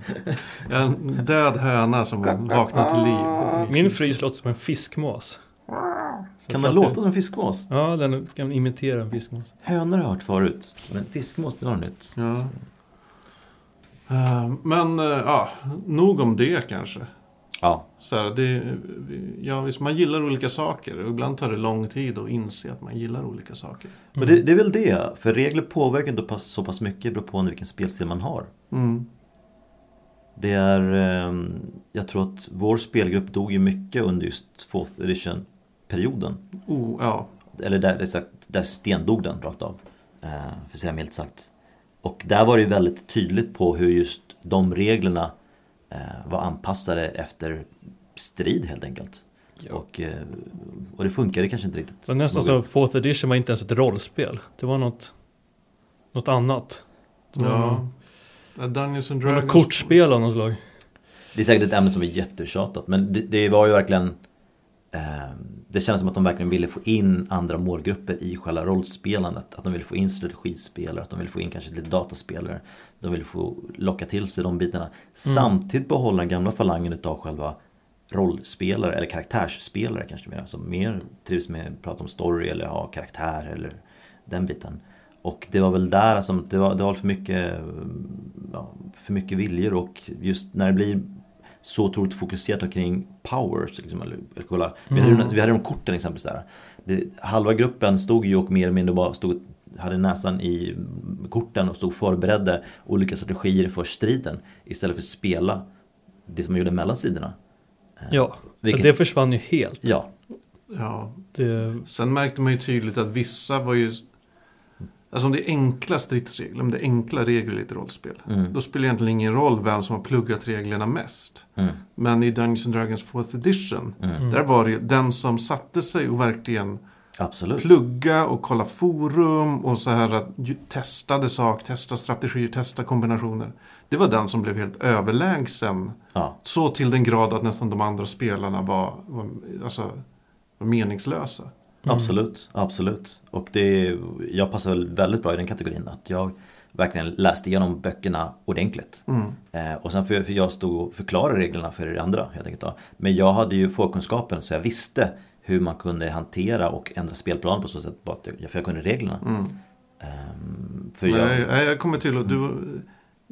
Speaker 3: (laughs) en död höna som vaknar till liv.
Speaker 2: Min frys låter som en fiskmås. Så
Speaker 1: Kan den
Speaker 2: jag tror att
Speaker 1: låta som en fiskmås?
Speaker 2: det- Ja, den kan imitera en fiskmås.
Speaker 1: Hönor har jag hört förut, men fiskmås det var nytt.
Speaker 3: Ja. Eh, Men eh, ja, nog om det kanske.
Speaker 1: Ja,
Speaker 3: Så här, det, ja, visst, man gillar olika saker och ibland tar det lång tid att inse att man gillar olika saker.
Speaker 1: men
Speaker 2: Mm.
Speaker 1: det, det är väl det. För regler påverkar inte pass- så pass mycket beroende på vilken spelstil man har.
Speaker 3: Mm.
Speaker 1: Det är, ehm, jag tror att vår spelgrupp dog ju mycket under just fourth edition-perioden.
Speaker 3: Oh, ja.
Speaker 1: Eller där, där, sagt, där stendog den rakt av. Eh, för att säga milt sagt. Och där var det ju väldigt tydligt på hur just de reglerna eh, var anpassade efter strid helt enkelt.
Speaker 2: Ja.
Speaker 1: Och, eh, och det funkade kanske inte riktigt.
Speaker 2: Så nästan som fourth edition var inte ens ett rollspel. Det var något, något annat. Det var
Speaker 3: ja. Ja, Dungeons and
Speaker 2: något-
Speaker 3: Dragons.
Speaker 2: något kortspel av något slag.
Speaker 1: Det är säkert ett ämne som är jättetjatat men det, det var ju verkligen eh, Det kändes som att de verkligen ville få in andra målgrupper i själva rollspelandet. Att de ville få in strategispelare, att de ville få in kanske lite dataspelare. De ville få locka till sig de bitarna. Samtidigt behålla den gamla falangen utav själva rollspelare eller karaktärsspelare kanske mer. Som mer trivs med att prata om story eller ha karaktär eller den biten. Och det var väl där som det var, det var för mycket ja, för mycket viljor och just när det blir så otroligt fokuserat kring powers. Liksom, eller, eller, kolla. Vi, hade, ju- vi hade de korten exempelvis där. Det, halva gruppen stod ju och mer eller mindre bara stod, hade näsan i korten och stod och förberedde olika strategier för striden istället för att spela det som man gjorde mellan sidorna.
Speaker 2: Ja,
Speaker 1: Vilket-
Speaker 2: det försvann ju helt.
Speaker 1: Ja,
Speaker 3: Ja,
Speaker 2: Det,
Speaker 3: Sen märkte man ju tydligt att vissa var ju... Alltså om det är enkla stridsregler, om det är enkla regler i ett rollspel.
Speaker 1: Mm.
Speaker 3: Då spelar det egentligen ingen roll vem som har pluggat reglerna mest.
Speaker 1: mm,
Speaker 3: Men i Dungeons and Dragons 4th edition,
Speaker 1: mm,
Speaker 3: där var det ju den som satte sig och verkligen
Speaker 1: absolut.
Speaker 3: plugga och kolla forum och så här att ju- testade sak, testa strategier, testa kombinationer. Det var den som blev helt överlägsen.
Speaker 1: Ja,
Speaker 3: Så till den grad att nästan de andra spelarna var, var, alltså, var meningslösa.
Speaker 1: Absolut, absolut. Och det, jag passar väl väldigt bra i den kategorin att jag verkligen läste igenom böckerna ordentligt.
Speaker 3: Mm.
Speaker 1: Eh, och sen för, för jag stod och förklarade reglerna för er andra helt enkelt. Då. Men jag hade ju förkunskapen så jag visste hur man kunde hantera och ändra spelplanen på så sätt bara att jag, för jag kunde reglerna.
Speaker 3: Mm.
Speaker 1: Ehm, för
Speaker 3: Nej,
Speaker 1: jag,
Speaker 3: nej, jag kommer till att du...
Speaker 1: Mm.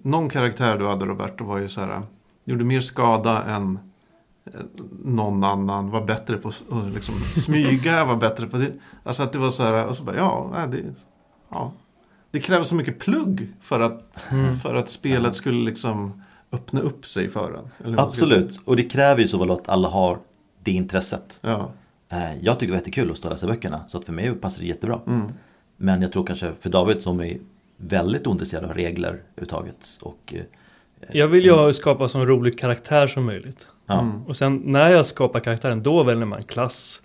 Speaker 3: Någon karaktär du hade Roberto var ju så här... Gjorde mer skada än eh, någon annan. Var bättre på att att liksom,
Speaker 1: (laughs)
Speaker 3: smyga, var bättre på det. Alltså att det var så här... Och så bara, ja, nej, det, ja. det krävs så mycket plugg för att,
Speaker 1: Mm.
Speaker 3: för att spelet skulle liksom öppna upp sig för en. eller vad man ska säga.
Speaker 1: absolut, och det kräver ju så väl att alla har det intresset.
Speaker 3: Ja.
Speaker 1: Eh, jag tyckte det var jättekul att stå och läsa böckerna så att för mig passade det jättebra.
Speaker 3: Mm.
Speaker 1: Men jag tror kanske för David som är väldigt ointresserad av regler överhuvudtaget. Och, eh,
Speaker 2: Jag vill ju skapa så rolig karaktär som möjligt.
Speaker 1: ja,
Speaker 3: Mm.
Speaker 2: Och sen när jag skapar karaktären, då väljer man klass,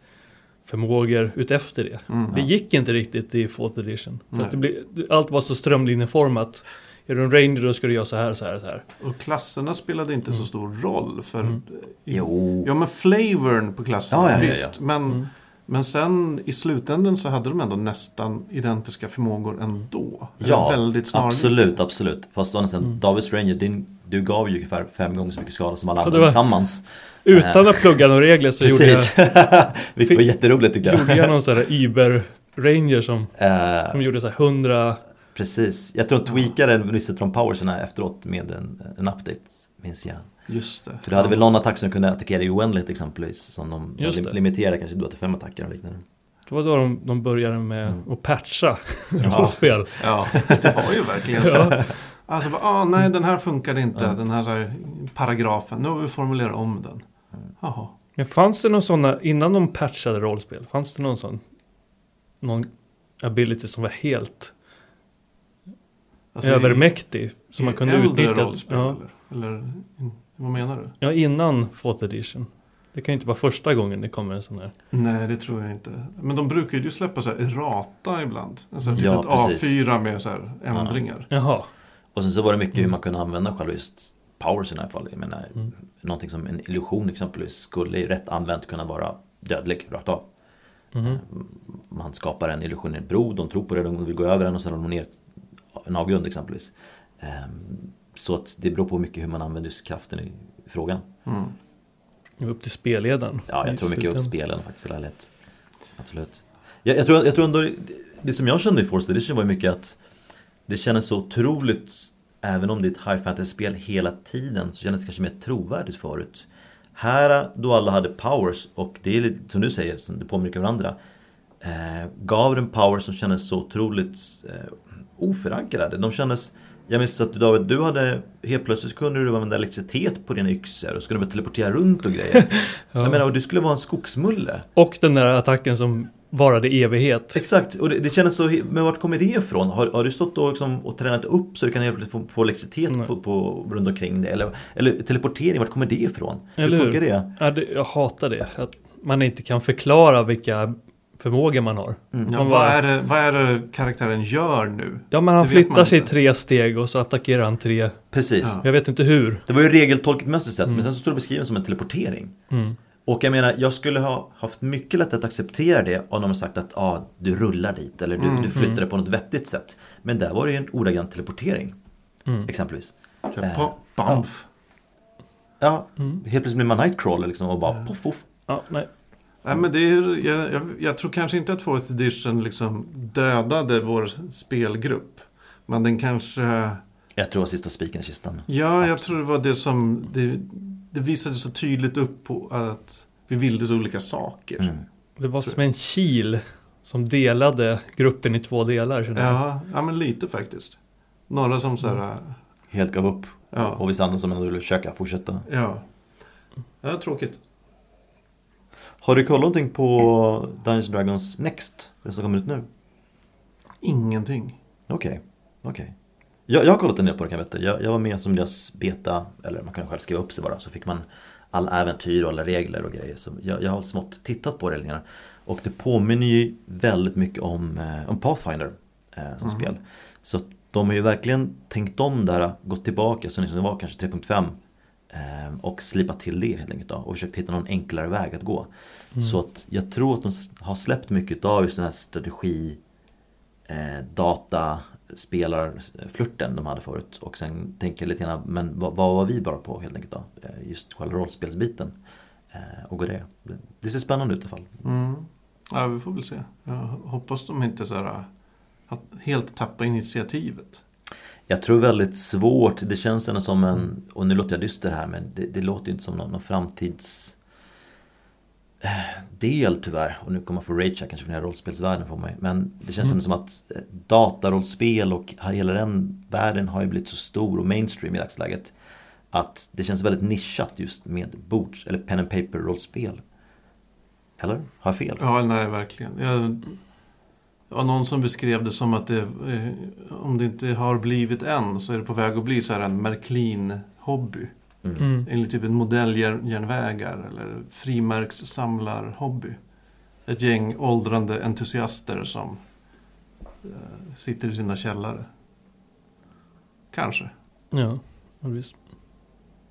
Speaker 2: förmågor utefter det.
Speaker 3: Mm.
Speaker 2: Det gick inte riktigt i Fourth Edition. För
Speaker 3: Nej.
Speaker 2: att det blev, allt var så strömlinjeformat. Är du en ranger då ska du göra så här och så här och så här.
Speaker 3: Och klasserna spelade inte så stor roll. För,
Speaker 2: Mm.
Speaker 1: Mm. Jo.
Speaker 3: Ja, men flavorn på klasserna,
Speaker 1: Ja, ja, ja, ja.
Speaker 3: visst. Men,
Speaker 2: Mm.
Speaker 3: men sen i slutänden så hade de ändå nästan identiska förmågor ändå. Eller
Speaker 1: Ja,
Speaker 3: väldigt snarlikt.
Speaker 1: Absolut, absolut. Fast å andra sidan,
Speaker 2: Mm.
Speaker 1: Davids Ranger, din, du gav ju ungefär fem gånger så mycket skada som alla
Speaker 2: Ja,
Speaker 1: andra
Speaker 2: det var-
Speaker 1: tillsammans.
Speaker 2: Utan att plugga några regler så gjorde jag,
Speaker 1: Precis, (laughs) vilket var jätteroligt tycker jag.
Speaker 2: gjorde jag någon sån här Uber-ranger som,
Speaker 1: (laughs) Eh,
Speaker 2: som gjorde så här 100
Speaker 1: precis, jag tror att tweakade Vincent från Powersarna efteråt med en, en update, minns jag.
Speaker 3: Just det.
Speaker 1: För du hade väl någon attack som kunde attackera i oändligt exempelvis, som de som
Speaker 2: Just
Speaker 1: lim-
Speaker 2: det.
Speaker 1: limiterade kanske då till fem attacker och liknande.
Speaker 2: Det var då de, de började med
Speaker 1: Mm.
Speaker 2: att patcha
Speaker 1: (laughs) Ja.
Speaker 2: rollspel.
Speaker 3: Ja, det var ju
Speaker 1: (laughs)
Speaker 3: verkligen så.
Speaker 2: Ja.
Speaker 3: Alltså, bara, ah, nej den här funkade inte,
Speaker 1: Ja.
Speaker 3: den här eh, paragrafen. Nu har vi formulerat om den.
Speaker 1: Mm.
Speaker 3: Jaha.
Speaker 2: Men fanns det någon sån, innan de patchade rollspel, fanns det någon sån, någon ability som var helt
Speaker 3: Alltså, i-
Speaker 2: övermäktig? Som man
Speaker 3: i
Speaker 2: kunde
Speaker 3: äldre
Speaker 2: utnyttja?
Speaker 3: rollspel,
Speaker 2: Ja,
Speaker 3: eller? eller? mm, Vad menar du?
Speaker 2: ja, innan fourth edition. Det kan ju inte vara första gången det kommer en sån här.
Speaker 3: Nej, det tror jag inte. Men de brukar ju släppa så här errata ibland. Alltså, typ
Speaker 1: Ja,
Speaker 3: ett
Speaker 1: precis.
Speaker 3: A4 med så här ändringar.
Speaker 2: Jaha,
Speaker 1: Och sen så var det mycket hur
Speaker 2: Mm.
Speaker 1: man kunde använda själva just powers i alla fall. Jag menar,
Speaker 2: Mm.
Speaker 1: någonting som en illusion exempelvis skulle ju rätt använt kunna vara dödlig rakt av.
Speaker 2: Mhm.
Speaker 1: Man skapar en illusion i en bro, de tror på det, de vill gå över den och sen ramlar de ner en avgrund exempelvis. Ehm, Så att det beror på mycket hur man använder just kraften i frågan.
Speaker 3: Mm.
Speaker 2: det var upp till spelledaren.
Speaker 1: Ja, jag
Speaker 2: i
Speaker 1: tror mycket åt
Speaker 2: slutändan.
Speaker 1: spelen faktiskt, eller lätt. Absolut. Jag, jag, tror, jag tror ändå, det, det som jag kände i Forced Edition var ju mycket att det kändes så otroligt, även om det är ett high fantasy-spel hela tiden, så kändes det kanske mer trovärdigt förut. Här då alla hade powers och det är lite som du säger, som det påminner om varandra. Eh, gav en power som kändes så otroligt eh, oförankrade. De kändes, jag minns att David, du hade helt plötsligt kunde du använda elektricitet på dina yxor och skulle börja teleportera runt och grejer.
Speaker 2: Ja.
Speaker 1: Jag menar, och du skulle vara en skogsmulle.
Speaker 2: Och den där attacken som varade evighet.
Speaker 1: Exakt, och det, det kändes så, he- men vart kommer det ifrån? Har, har du stått och, liksom, och tränat upp så du kan helt plötsligt få, få elektricitet
Speaker 2: Nej.
Speaker 1: på, på, runt omkring dig? Eller, eller teleportering, vart kommer det ifrån?
Speaker 2: Eller
Speaker 1: hur
Speaker 2: hur?
Speaker 1: funkar det?
Speaker 2: Ja, det, jag hatar det, att man inte kan förklara vilka förmågor man har.
Speaker 1: Mm.
Speaker 3: Ja,
Speaker 2: Man
Speaker 3: vad,
Speaker 2: bara-
Speaker 3: är det, vad är det karaktären gör nu?
Speaker 2: Ja men
Speaker 3: Det
Speaker 2: han
Speaker 3: vet man
Speaker 2: flyttar sig
Speaker 3: inte.
Speaker 2: tre steg och så attackerar han tre.
Speaker 1: Precis.
Speaker 3: Ja.
Speaker 2: Jag vet inte hur.
Speaker 1: Det var ju regeltolkningsmässigt sett,
Speaker 2: Mm.
Speaker 1: men sen så står det beskrivet som en teleportering.
Speaker 2: Mm.
Speaker 1: Och jag menar, jag skulle ha haft mycket lätt att acceptera det om de har sagt att ah, du rullar dit eller du,
Speaker 3: Mm.
Speaker 1: du flyttar det
Speaker 2: Mm.
Speaker 1: på något vettigt sätt. Men där var det ju en ordagrann teleportering,
Speaker 2: Mm.
Speaker 1: exempelvis.
Speaker 3: Så
Speaker 1: Eh,
Speaker 3: här, pa- Bamf.
Speaker 1: Ja,
Speaker 2: Mm.
Speaker 1: helt plötsligt blir man nightcrawler liksom och bara
Speaker 3: Ja.
Speaker 1: poff poff.
Speaker 2: Ja, nej.
Speaker 3: Nej, men det är, jag, jag, jag tror kanske inte att Fourth Edition liksom dödade vår spelgrupp. Men den kanske...
Speaker 1: Jag tror det var sista spiken i kistan.
Speaker 3: Ja, jag tror det var det som... Det, det visade så tydligt upp på att vi ville så olika saker.
Speaker 1: Mm.
Speaker 2: Det var
Speaker 3: Tror jag.
Speaker 2: som en kil som delade gruppen i två delar. känner jag.
Speaker 3: Ja, ja, men lite faktiskt. Några som så här...
Speaker 1: Mm.
Speaker 3: äh,
Speaker 1: Helt gav upp.
Speaker 3: Ja,
Speaker 1: Och vissa andra som ändå ville försöka fortsätta.
Speaker 3: ja. ja tråkigt.
Speaker 1: Har du kollat någonting på Dungeons Dragons Next? Det som kommer ut nu?
Speaker 3: Ingenting.
Speaker 1: Okej, okej. Jag, jag har kollat en del på det kan jag veta. Jag, jag var med som deras beta, eller man kan själv skriva upp sig bara. Så fick man alla äventyr och alla regler och grejer. Så jag, jag har smått tittat på det lite grann. Och det påminner ju väldigt mycket om, eh, om Pathfinder eh, som
Speaker 3: Mhm.
Speaker 1: spel. Så att de har ju verkligen tänkt om där, gått tillbaka så som det var kanske 3.5. eh, Och slipat till det helt enkelt då, och försökt hitta någon enklare väg att gå.
Speaker 2: Mm.
Speaker 1: Så att jag tror att de s- har släppt mycket av just den här strategi eh, data spelarflirten de hade förut och sen tänker lite grann men vad, vad var vi bra på helt enkelt då? Eh, Just själva rollspelsbiten eh, och går det. Det ser spännande ut i alla fall.
Speaker 3: Mm. Ja, vi får väl se. Jag hoppas de inte så här, att helt tappar initiativet.
Speaker 1: Jag tror väldigt svårt, det känns ändå som en, och nu låter jag dyster här men det, det låter ju inte som någon, någon framtids eh, del tyvärr och nu kommer man få rage här kanske för den här rollspelsvärlden på mig men det känns
Speaker 2: Mm.
Speaker 1: ändå som att eh, datarollspel och hela den världen har ju blivit så stor och mainstream i dagsläget att det känns väldigt nischat just med bords eller pen and paper rollspel. Eller? Har jag fel?
Speaker 3: Ja, nej, verkligen. Jag, Det var någon som beskrev det som att det, eh, om det inte har blivit än så är det på väg att bli så här en Märklin-hobby.
Speaker 1: Mm.
Speaker 2: Mm.
Speaker 3: Enligt typ en modelljärnvägar eller frimärkssamlarhobby. Ett gäng åldrande entusiaster som eh, sitter i sina källare. Kanske.
Speaker 2: Ja, ja, visst.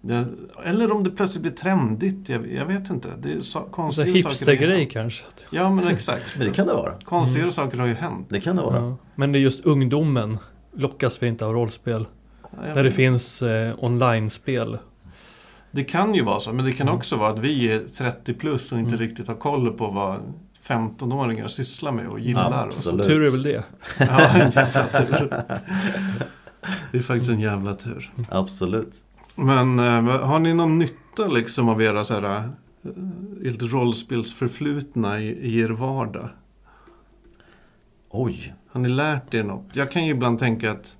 Speaker 3: Det, eller om det plötsligt blir trendigt. Jag, jag vet inte. Det är så,
Speaker 2: Så
Speaker 3: konstiga har
Speaker 2: Alltså, hipstergrej
Speaker 3: hänt.
Speaker 2: kanske. Att-
Speaker 3: Ja men exakt.
Speaker 1: Men det kan det vara.
Speaker 3: Konstigare
Speaker 2: Mm.
Speaker 3: saker har ju hänt.
Speaker 1: Det kan det vara.
Speaker 2: Ja. Men det är just ungdomen lockas för inte av rollspel.
Speaker 3: Jag
Speaker 2: När det
Speaker 3: vet
Speaker 2: finns eh, online-spel.
Speaker 3: Det kan ju vara så, men det kan
Speaker 2: Mm.
Speaker 3: också vara att vi är 30 plus och inte
Speaker 2: Mm.
Speaker 3: riktigt har koll på vad 15-åringar sysslar med och gillar. Och så.
Speaker 1: Absolut.
Speaker 2: Tur är väl det.
Speaker 3: (laughs) Ja, en jävla tur. Det är faktiskt en jävla tur.
Speaker 1: Absolut.
Speaker 3: Men eh, har ni någon nytta liksom av era så här, eh, ert rollspelsförflutna i, i er vardag?
Speaker 1: Oj.
Speaker 3: Har ni lärt er något? Jag kan ju ibland tänka att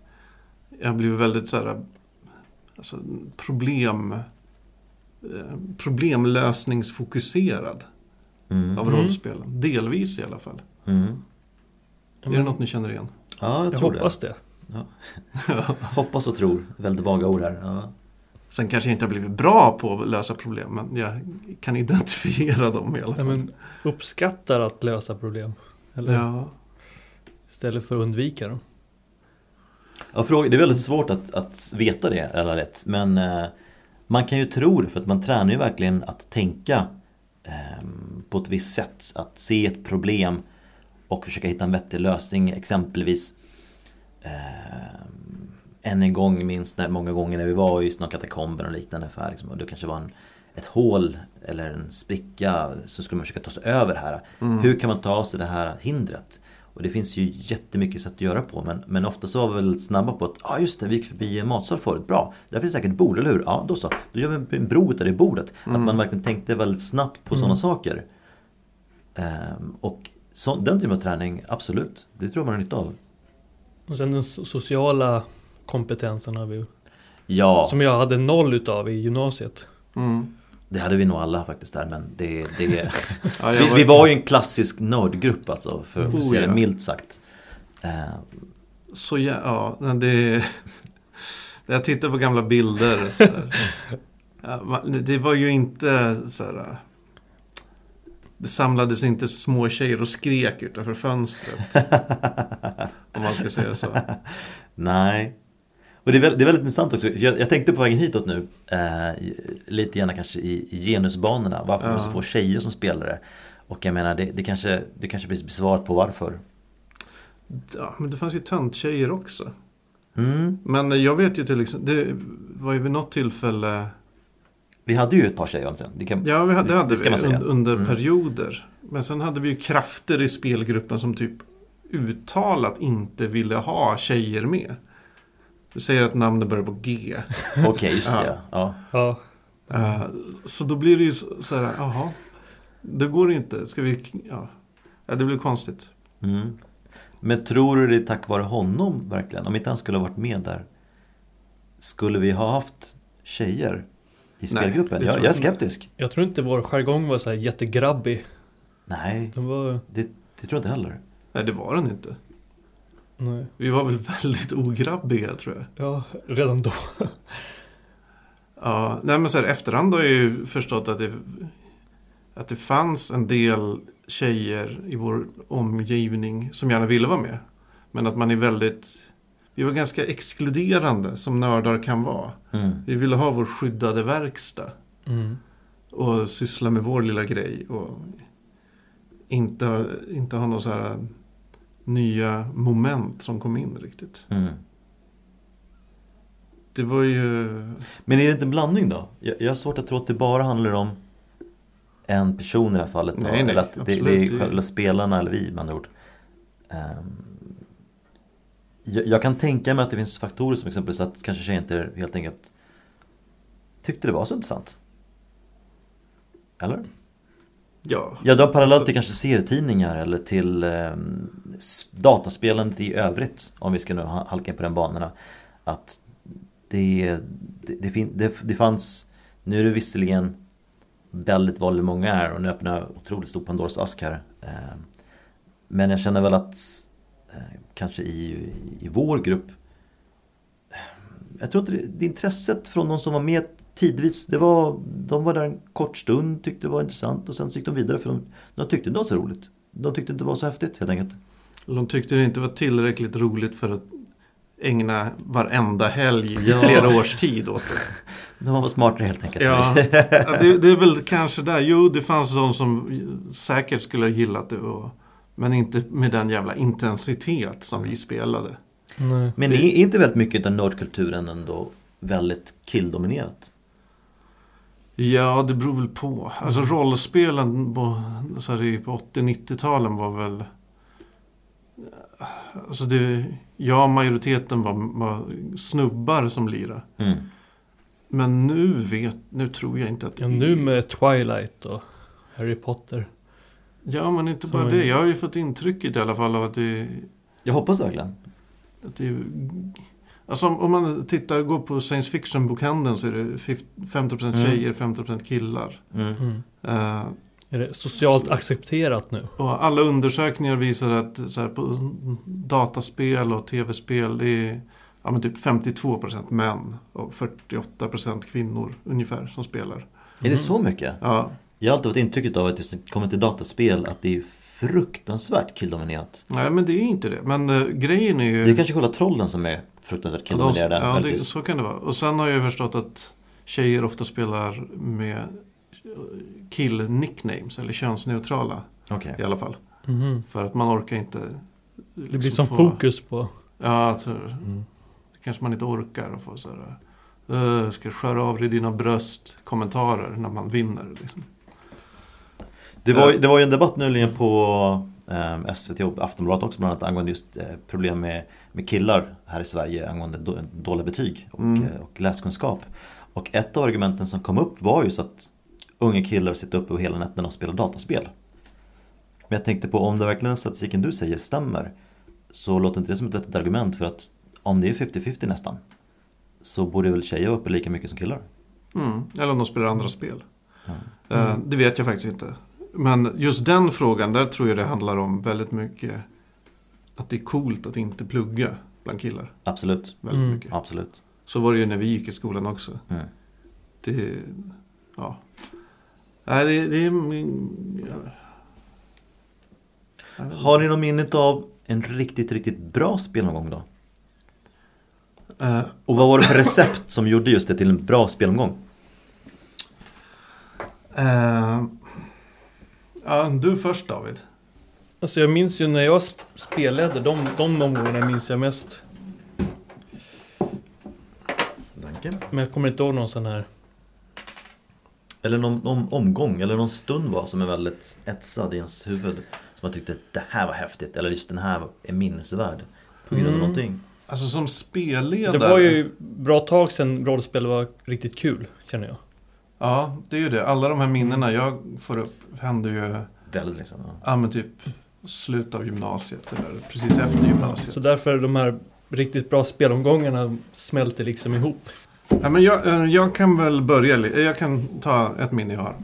Speaker 3: jag blir väldigt så här, alltså, problem, eh, problemlösningsfokuserad.
Speaker 1: Mm.
Speaker 3: av
Speaker 2: Mm.
Speaker 3: rollspelen. Delvis i alla fall.
Speaker 1: Mm.
Speaker 3: Är det något ni känner igen?
Speaker 1: Ja, jag,
Speaker 2: Jag
Speaker 1: tror
Speaker 2: hoppas det.
Speaker 1: det. Hoppas och tror. Väldigt vaga ord här. Ja.
Speaker 3: Sen kanske jag inte har blivit bra på att lösa problem, men jag kan identifiera (laughs) dem i alla
Speaker 2: Nej,
Speaker 3: fall.
Speaker 2: men uppskattar att lösa problem. Eller
Speaker 3: ja.
Speaker 2: istället för att undvika dem.
Speaker 1: Ja, fråga, det är väldigt svårt att, att veta det, eller rätt. Men eh, man kan ju tro det, för att man tränar ju verkligen att tänka ehm, på ett visst sätt. Att se ett problem och försöka hitta en vettig lösning. Exempelvis ehm, än en gång, minst när, många gånger när vi var i sådana katakomber och liknande. För, här, liksom, och det kanske var en, ett hål eller en spricka så skulle man försöka ta sig över här. Hur kan man ta sig det här hindret? Och det finns ju jättemycket sätt att göra på men, men ofta så var vi väldigt snabba på att ja ah, just det, vi gick förbi en matsal förut, bra. Där finns säkert ett bord, eller hur? Ja, då så. Då gör vi en- en bro där i bordet. Att man verkligen tänkte väldigt snabbt på sådana saker. Ehm, och så, den typen av träning, absolut. Det tror jag man har nytta av.
Speaker 2: Och sen den so- sociala kompetensen har vi ju.
Speaker 1: Ja,
Speaker 2: Som jag hade noll utav i gymnasiet.
Speaker 3: Mm.
Speaker 1: det hade vi nog alla faktiskt där men det... det
Speaker 3: ja jag
Speaker 1: vi, vi var ju en klassisk nördgrupp alltså, för för att
Speaker 3: Oh,
Speaker 1: säga det
Speaker 3: ja.
Speaker 1: milt sagt. Ehm,
Speaker 3: Så jä... ja, nej, det... (laughs) Jag tittar på gamla bilder. så här. Ja, va- Det var ju inte så här... äh, Det samlades inte små tjejer och skrek utanför fönstret. om man ska säga så.
Speaker 1: Nej. Och det är, väldigt, det är väldigt intressant också. Jag, jag tänkte på vägen hitåt nu, eh, i- lite gärna kanske i i genusbanorna, varför
Speaker 3: Ja.
Speaker 1: man ska få tjejer som spelare. Och jag menar, det, det kanske, det kanske blir besvarat på varför.
Speaker 3: Ja, men det fanns ju tönttjejer också.
Speaker 1: Mm.
Speaker 3: Men eh, jag vet ju till exempel, det var ju vid något tillfälle,
Speaker 1: Vi hade ju ett par tjejer sen. Det kan,
Speaker 3: ja vi hade,
Speaker 1: Det-
Speaker 3: det hade
Speaker 1: det ska man
Speaker 3: vi
Speaker 1: säga.
Speaker 3: un- under
Speaker 1: Mm.
Speaker 3: perioder. Men sen hade vi ju krafter i spelgruppen som typ uttalat inte ville ha tjejer med. Du säger att namnet börjar på G.
Speaker 1: Okej, just det.
Speaker 3: Ja.
Speaker 1: Ja. Ja.
Speaker 2: Ja,
Speaker 3: Eh, så då blir det ju så så här, jaha, det går inte, ska vi, ja. ja det blir konstigt.
Speaker 1: Mm. Men tror du det är tack vare honom verkligen? Om inte han skulle ha varit med där, skulle vi ha haft tjejer i spelgruppen?
Speaker 3: det
Speaker 1: jag,
Speaker 3: tror
Speaker 1: jag är
Speaker 3: jag inte.
Speaker 1: skeptisk.
Speaker 2: jag tror inte vår jargong var så här jättegrabbig.
Speaker 1: Nej,
Speaker 2: Den var...
Speaker 1: det tror jag inte heller.
Speaker 3: Nej det var den inte.
Speaker 2: Nej.
Speaker 3: Vi var väl (laughs) väldigt ograbbiga tror jag.
Speaker 2: Ja, redan då.
Speaker 3: Ja, nej men så här, efterhand har jag ju förstått att det, att det fanns en del tjejer i vår omgivning som gärna ville vara med. Men att man är väldigt, vi var ganska exkluderande som nördar kan vara.
Speaker 1: Mm.
Speaker 3: Vi ville ha vår skyddade verkstad
Speaker 2: Mm.
Speaker 3: och syssla med vår lilla grej. Och inte, inte ha några så här nya moment som kom in riktigt.
Speaker 1: Mm.
Speaker 3: Det var ju...
Speaker 1: Men är det inte en blandning då? Jag, jag har svårt att tro att det bara handlar om en person i det här fallet. då.
Speaker 3: Nej, nej,
Speaker 1: eller att det, det
Speaker 3: absolut,
Speaker 1: är
Speaker 3: det-
Speaker 1: själva spelarna eller vi med andra ord. Ehm, jag, jag kan tänka mig att det finns faktorer som exempelvis att kanske tjejer inte helt enkelt tyckte det var så intressant. Eller?
Speaker 3: Ja,
Speaker 1: Jag drar parallellt
Speaker 3: Alltså-
Speaker 1: till kanske serietidningar eller till ehm, s- dataspelandet i övrigt. Om vi ska nu ha- halka in på den banorna. Att det, det, det, fin, det, det fanns, nu är det visserligen väldigt vad det många är och nu öppnar jag otroligt stor Pandoras ask här. Ehm, men jag känner väl att eh, kanske i, i vår grupp. Jag tror inte det, det intresset från de som var med tidvis, det var, de var där en kort stund, tyckte det var intressant och sen så gick de vidare för de, de tyckte inte det var så roligt. De tyckte inte det var så häftigt helt enkelt.
Speaker 3: De tyckte det inte var tillräckligt roligt för att ägna varenda helg i
Speaker 1: Ja.
Speaker 3: flera års tid åt det.
Speaker 1: De var smartare helt enkelt.
Speaker 3: Ja, (laughs) ja, det, det är väl kanske där. Jo, det fanns de som säkert skulle ha gillat det. Och, men inte med den jävla intensitet som vi spelade.
Speaker 2: Nej.
Speaker 1: (laughs) Men är inte väldigt mycket av nördkulturen ändå väldigt killdominerat?
Speaker 3: Ja, det beror väl på. Alltså rollspelen på, så här, i- på 80-90-talen var väl... Alltså det, ja, majoriteten var, var snubbar som lirade.
Speaker 1: Mm.
Speaker 3: Men nu vet, nu tror jag inte att det
Speaker 2: Ja, nu med Twilight och Harry Potter.
Speaker 3: Ja, men inte
Speaker 2: Som
Speaker 3: bara
Speaker 2: är-
Speaker 3: det. Jag har ju fått intrycket i alla fall av att det,
Speaker 1: Jag hoppas verkligen.
Speaker 3: att det är... Alltså om, om man tittar, går på science fiction-bokhandeln så är det fif- 50%
Speaker 1: Mm.
Speaker 3: tjejer, 50% killar.
Speaker 1: Mm.
Speaker 2: Mm.
Speaker 3: Eh,
Speaker 2: Är det socialt accepterat nu?
Speaker 3: och alla undersökningar visar att så här, på dataspel och tv-spel det är ja, men typ 52% män och 48% kvinnor ungefär som spelar.
Speaker 1: Är det så mycket?
Speaker 3: Ja,
Speaker 1: Jag har alltid fått intrycket av att just när det kommer till dataspel att det är fruktansvärt killdominerat.
Speaker 3: nej men det är inte det. Men eh, grejen är ju...
Speaker 1: Det är kanske själva trollen som är fruktansvärt
Speaker 3: Ja, de-
Speaker 1: killdominerade.
Speaker 3: Ja, det,
Speaker 1: möjligtvis.
Speaker 3: så kan det vara. Och sen har jag ju förstått att tjejer ofta spelar med kill-nicknames, eller könsneutrala
Speaker 1: Okej.
Speaker 3: i alla fall.
Speaker 2: Mhm.
Speaker 3: För att man orkar inte...
Speaker 2: Det blir
Speaker 3: liksom
Speaker 2: som
Speaker 3: få-
Speaker 2: fokus på...
Speaker 3: Ja, jag tror,
Speaker 2: Mm.
Speaker 3: det kanske man inte orkar att få sådär... Uh, ska jag skära av dig dina bröst? Kommentarer när man vinner. Liksom.
Speaker 1: Det, var, det var ju en debatt nyligen på eh, SVT och Aftonbladet också bland annat angående just eh, problem med, med killar här i Sverige angående då, dåliga betyg och,
Speaker 3: Mm.
Speaker 1: eh, och läskunskap. Och ett av argumenten som kom upp var just att unga killar sitter uppe hela nätterna och spelar dataspel. Men jag tänkte på om det verkligen statistiken du säger stämmer så låter inte det som ett vettigt argument för att om det är 50-50 nästan så borde väl tjejer vara uppe lika mycket som killar?
Speaker 3: Mm. Eller om de spelar andra spel.
Speaker 1: Ja.
Speaker 3: Eh,
Speaker 2: Mm.
Speaker 3: det vet jag faktiskt inte. Men just den frågan, där tror jag det handlar om väldigt mycket att det är coolt att inte plugga bland killar.
Speaker 1: Absolut,
Speaker 3: Väldigt
Speaker 2: Mm.
Speaker 3: mycket.
Speaker 1: absolut.
Speaker 3: Så var det ju när vi gick i skolan också.
Speaker 1: Mm.
Speaker 3: Det, ja. Nej, det, det är... min- ja. Jag vet inte.
Speaker 1: Har ni någon minne av en riktigt, riktigt bra spelomgång då?
Speaker 3: Eh,
Speaker 1: Och vad var det för recept som gjorde just det till en bra spelomgång?
Speaker 3: eh, ja, du först David.
Speaker 2: Alltså jag minns ju när jag sp- spelade, de, de omgångarna minns jag mest. Men jag kommer inte ihåg någon sån här.
Speaker 1: Eller någon, någon omgång eller någon stund var som är väldigt etsad i ens huvud. Som man tyckte det här var häftigt eller just den här är minnesvärd. På grund av
Speaker 2: Mm.
Speaker 1: någonting.
Speaker 3: Alltså som spelledare.
Speaker 2: Det var ju bra tag sedan rollspel var riktigt kul, känner jag.
Speaker 3: Ja, det är ju det. Alla de här minnena jag får upp händer ju
Speaker 1: Väldigt liksom. ja.
Speaker 3: ja, men typ slut av gymnasiet eller precis efter gymnasiet.
Speaker 2: Så därför de här riktigt bra spelomgångarna smälter liksom ihop.
Speaker 3: Ja, men jag, eh, jag kan väl börja. li- eh, Jag kan ta ett minne jag har.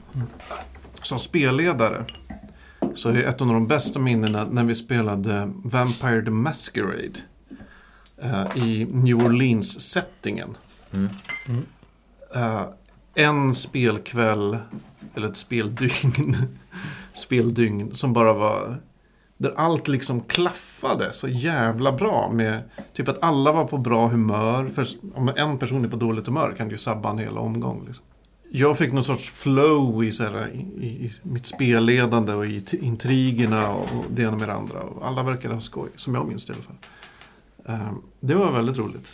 Speaker 3: Som spelledare så är ett av de bästa minnena när vi spelade Vampire the Masquerade eh, i New Orleans-settingen.
Speaker 1: Mm.
Speaker 2: Mm.
Speaker 3: Eh, en spelkväll, eller ett speldygn, (laughs) speldygn som bara var där allt liksom klaffade så jävla bra med Typ att alla var på bra humör. För om en person är på dåligt humör kan det ju sabba en hel omgång. Liksom. Jag fick någon sorts flow i, så här, i, i mitt spelledande och i t- intrigerna och och det ena med det andra. Och alla verkade ha skoj, som jag minns det i alla fall. Ehm, det var väldigt roligt.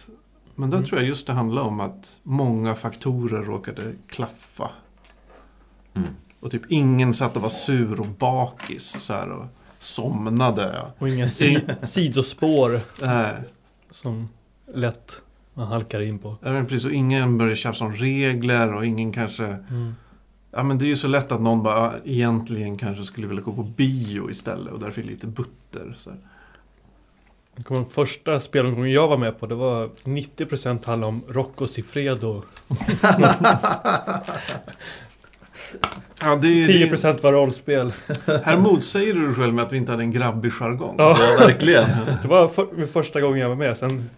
Speaker 3: Men där
Speaker 2: Mm.
Speaker 3: tror jag just det handlar om att många faktorer råkade klaffa.
Speaker 1: Mm.
Speaker 3: Och typ ingen satt och var sur och bakis så här, och somnade.
Speaker 2: Och inga si
Speaker 3: (laughs)
Speaker 2: sidospår
Speaker 3: Eh,
Speaker 2: som lätt man halkar in på.
Speaker 3: Ja, men precis. Och ingen börjar tjafsa om regler och ingen kanske... Ja, men det är ju så lätt att någon bara "Ah, egentligen kanske skulle vilja gå på bio istället och därför är det lite butter. Så här.
Speaker 2: Jag kommer ihåg första spelomgången jag var med på, det var 90% handlade om Rocco Siffredo.
Speaker 3: Ja, det är, det
Speaker 2: 10% var rollspel.
Speaker 3: är, här motsäger du dig själv med att vi inte hade en grabbig jargong.
Speaker 2: Ja.
Speaker 1: Ja, verkligen.
Speaker 2: (laughs) Det var för, första gången jag var med, sen,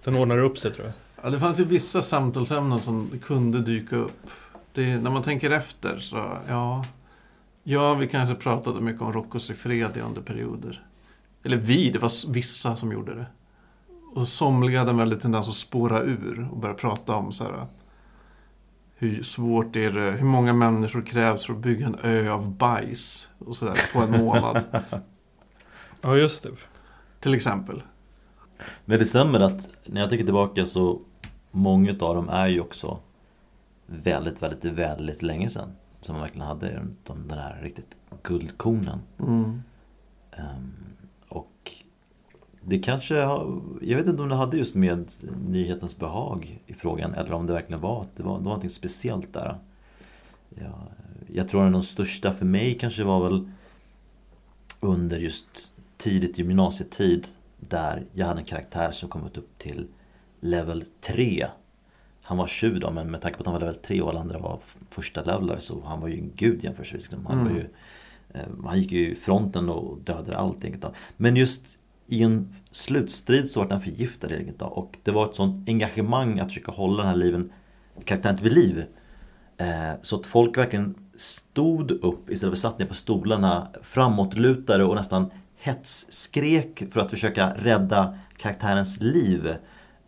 Speaker 2: sen ordnade det upp sig tror jag.
Speaker 3: Ja, det fanns ju vissa samtalsämnen som kunde dyka upp. Det, när man tänker efter så, ja. Ja, vi kanske pratade mycket om Roccos i fred i under perioder. Eller vi, det var s- vissa som gjorde det. Och somliga hade en väldig tendens att spåra ur och börja prata om så här. Hur svårt är det, hur många människor krävs för att bygga en ö av bajs? Och sådär på en månad.
Speaker 1: (laughs)
Speaker 2: Ja just det.
Speaker 3: till exempel.
Speaker 1: Men det stämmer att när jag tänker tillbaka så Många av dem är ju också Väldigt, väldigt, väldigt länge sedan Som man verkligen hade de, den här riktigt guldkornen
Speaker 3: Mm.
Speaker 1: Ehm, Och Det kanske har- Jag vet inte om det hade just med nyhetens behag i frågan eller om det verkligen var att det var, det var någonting speciellt där jag, jag tror att de största för mig kanske var väl Under just tidigt gymnasietid Där jag hade en karaktär som kommit upp till Level 3 Han var tjuv då men med tanke på att han var level 3 och alla andra var f- första levelare så han var ju en gud jämfört liksom. han, var ju, eh, han gick ju i fronten och dödade allting. Då. Men just i en slutstrid så var han förgiftad helt enkelt. då. Och det var ett sånt engagemang att försöka hålla den här liven, karaktären vid liv. Eh, Så att folk verkligen stod upp istället för satt ner på stolarna, framåtlutade och nästan hetsskrek för att försöka rädda karaktärens liv.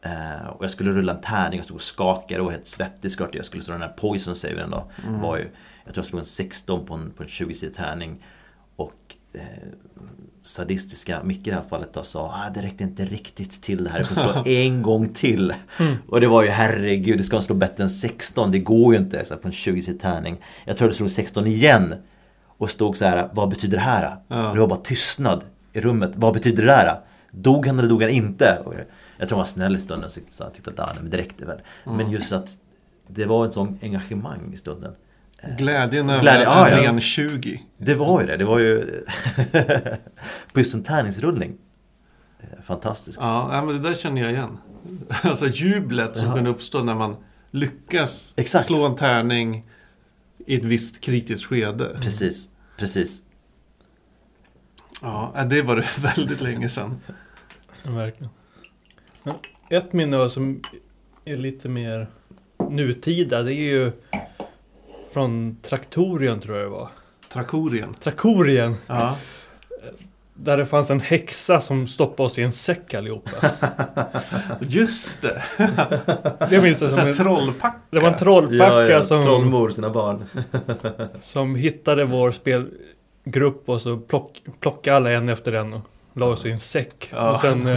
Speaker 1: Eh, Och jag skulle rulla en tärning och stod och skakade och var helt svettig såklart. Jag skulle slå den här poison saven då. Var ju, jag tror jag slog en 16 på en, på en 20-sidig tärning. Och eh, sadistiska Micke i det här fallet då sa ah, det räckte inte riktigt till det här. Jag får slå en gång till. Och det var ju herregud, det ska slå bättre än 16. Det går ju inte så här, på en 20 tärning. Jag tror det slog 16 igen. Och stod så här, vad betyder det här?
Speaker 3: Ja.
Speaker 1: Det var bara tystnad i rummet. Vad betyder det här? Dog han eller dog han inte? Och jag- jag tror han var snäll i stunden så så han tittade där, men det räckte väl. Men just att det var ett sånt engagemang i stunden.
Speaker 3: Glädjen över
Speaker 1: Glädje,
Speaker 3: en
Speaker 1: ja, ja.
Speaker 3: ren 20.
Speaker 1: Det var ju det, det var ju (laughs) på just en tärningsrullning. Eh, Fantastiskt.
Speaker 3: Ja, nej, men det där känner jag igen. (laughs) Alltså jublet som kunde uppstå när man lyckas
Speaker 1: Exakt.
Speaker 3: slå en tärning i ett visst kritiskt skede.
Speaker 1: Precis, precis.
Speaker 3: Ja, det var det (laughs) väldigt länge sedan.
Speaker 2: Ja, Verkligen. Men ett minne var som är lite mer nutida, det är ju från Traktorien tror jag det var.
Speaker 3: Trakorien.
Speaker 2: Traktorien!
Speaker 3: Ja.
Speaker 2: Där det fanns en häxa som stoppade oss i en säck allihopa.
Speaker 3: Just det!
Speaker 2: Det minns jag
Speaker 3: En
Speaker 2: som
Speaker 3: sån här
Speaker 2: en,
Speaker 3: trollpacka.
Speaker 2: Det var en trollpacka som,
Speaker 1: Trollmor, sina barn.
Speaker 2: som hittade vår spelgrupp och så plock, plockade alla en efter en och la oss i en säck.
Speaker 3: Ja.
Speaker 2: Och sen eh,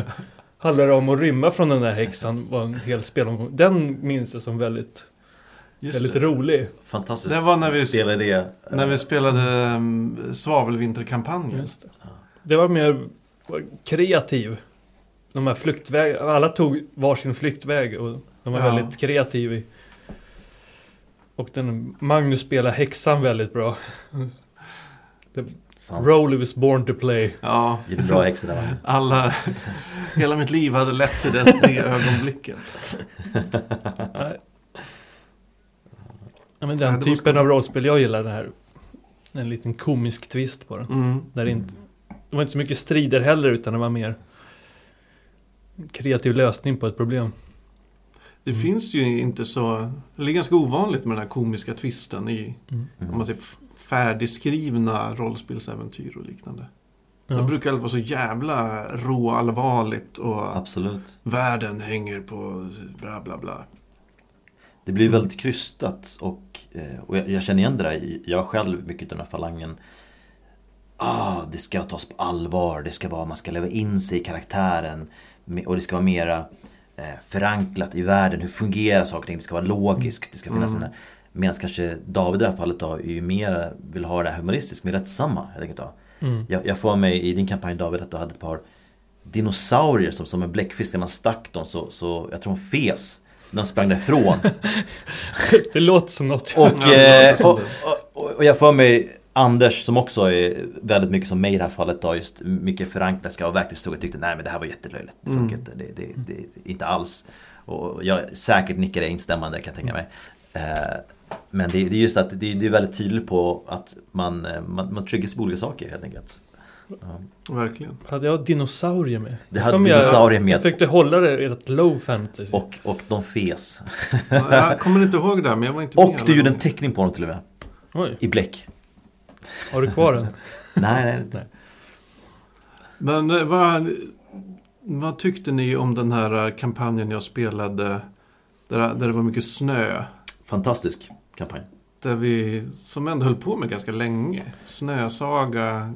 Speaker 2: handlade det om att rymma från den där häxan. var en hel spelomgång. Den minns jag som väldigt,
Speaker 3: Just
Speaker 2: väldigt
Speaker 3: det.
Speaker 2: rolig.
Speaker 1: Fantastiskt
Speaker 3: Det var när vi-
Speaker 1: spelade det. eh,
Speaker 3: När vi spelade um, Svavelvinterkampanjen.
Speaker 2: Just det. det var mer var kreativ. De här flyktvägarna, alla tog varsin flyktväg och de var
Speaker 3: Ja.
Speaker 2: väldigt kreativa. i- Och den Magnus spelar häxan väldigt bra.
Speaker 1: Sant.
Speaker 2: Role was born to
Speaker 3: (laughs)
Speaker 2: play.
Speaker 3: Ja,
Speaker 1: Vilken bra häxa det var.
Speaker 3: alla... (laughs) Hela mitt liv hade lett till det, det ögonblicket.
Speaker 2: Nej. Ja,
Speaker 3: Ja,
Speaker 2: men den
Speaker 3: det var
Speaker 2: typen
Speaker 3: skoj.
Speaker 2: av rollspel jag gillar det här. En liten komisk twist på den.
Speaker 3: Mm.
Speaker 2: Där det, inte, det var inte så mycket strider heller utan det var mer kreativ lösning på ett problem.
Speaker 3: Det
Speaker 1: Mm.
Speaker 3: finns ju inte så... Det är ganska ovanligt med den här komiska twisten i om man
Speaker 1: Mm.
Speaker 3: ser f- färdigskrivna rollspelsäventyr och liknande. Det
Speaker 2: Ja.
Speaker 3: brukar alltid vara så jävla råallvarligt och
Speaker 1: Absolut.
Speaker 3: världen hänger på bla bla bla.
Speaker 1: Det blir väldigt krystat och, eh, och jag, jag känner igen det där. Jag själv, mycket av den här falangen ah, det ska tas på allvar, det ska vara, man ska leva in sig i karaktären me- och det ska vara mera eh, förankrat i världen, hur fungerar saker och ting, det ska vara logiskt, det ska finnas mm. Medan kanske David i det här fallet då, är ju mer vill ha det här humoristiskt, mer rättsamma. helt enkelt då.
Speaker 2: Mm.
Speaker 1: Jag, jag får mig i din kampanj David att du hade ett par dinosaurier som, som en bläckfisk, när man stack dem så, så jag tror de fes när de sprang därifrån.
Speaker 2: Det låter som något. jag-
Speaker 1: Och, eh, och, och, och jag får mig Anders som också är väldigt mycket som mig i det här fallet då just mycket förankrat och verkligen stod och tyckte nej men det här var jättelöjligt. Det funkar inte, det, det, det, inte alls. Och jag säkert nickade instämmande kan jag tänka mig. Eh, Men det, det är just att det, det är väldigt tydligt på att man, eh, man, man triggas på olika saker helt enkelt. Ja. (laughs)
Speaker 3: Verkligen.
Speaker 2: Hade jag dinosaurier med?
Speaker 1: Det hade
Speaker 2: Som
Speaker 1: dinosaurier
Speaker 2: jag,
Speaker 1: med.
Speaker 2: Jag försökte hålla det i ett low fantasy.
Speaker 1: Och, och de fes.
Speaker 3: Ja, Jag kommer inte ihåg det, här, men jag var
Speaker 1: (laughs)
Speaker 3: inte
Speaker 1: Och
Speaker 3: med.
Speaker 1: du
Speaker 3: alla
Speaker 1: gjorde en
Speaker 3: gånger.
Speaker 1: teckning på honom till och med.
Speaker 2: Oj,
Speaker 1: I bläck.
Speaker 2: har du kvar den?
Speaker 1: Nej, nej, nej.
Speaker 3: Men eh, vad, vad tyckte ni om den här eh, kampanjen jag spelade? Där, där det var mycket snö.
Speaker 1: Fantastisk kampanj.
Speaker 3: Där vi, som ändå höll på med ganska länge. Snösaga eh,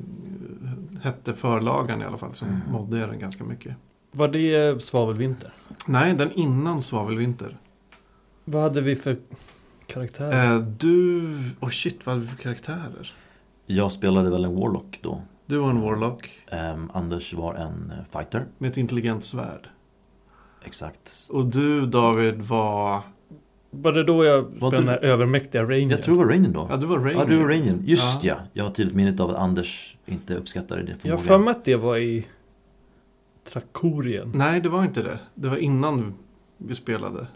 Speaker 3: hette förlagan i alla fall, som
Speaker 1: Mm.
Speaker 3: moddade den ganska mycket.
Speaker 2: Var det Svavelvinter?
Speaker 3: Nej, den innan Svavelvinter.
Speaker 2: Vad hade vi för karaktär?
Speaker 3: Eh, du... Oh shit, vad hade vi för karaktärer?
Speaker 1: Jag spelade väl en Warlock då.
Speaker 3: Du var en Warlock
Speaker 1: Ehm, Anders var en eh, fighter.
Speaker 3: med ett intelligent svärd.
Speaker 1: Exakt.
Speaker 3: Och du David var...
Speaker 2: Var det då jag
Speaker 1: Var
Speaker 2: spelade den
Speaker 1: du-
Speaker 2: här övermäktiga Ranger?
Speaker 1: Jag tror det var Rainier då.
Speaker 3: Ja, du var Ranger.
Speaker 1: Ja, du var Rainier. Just ja. Jag har ett tydligt minnet av att Anders inte uppskattade din
Speaker 2: Jag har
Speaker 1: förmåga.
Speaker 2: för mig att det var i Trakorien.
Speaker 3: Nej, det var inte det. Det var innan vi spelade.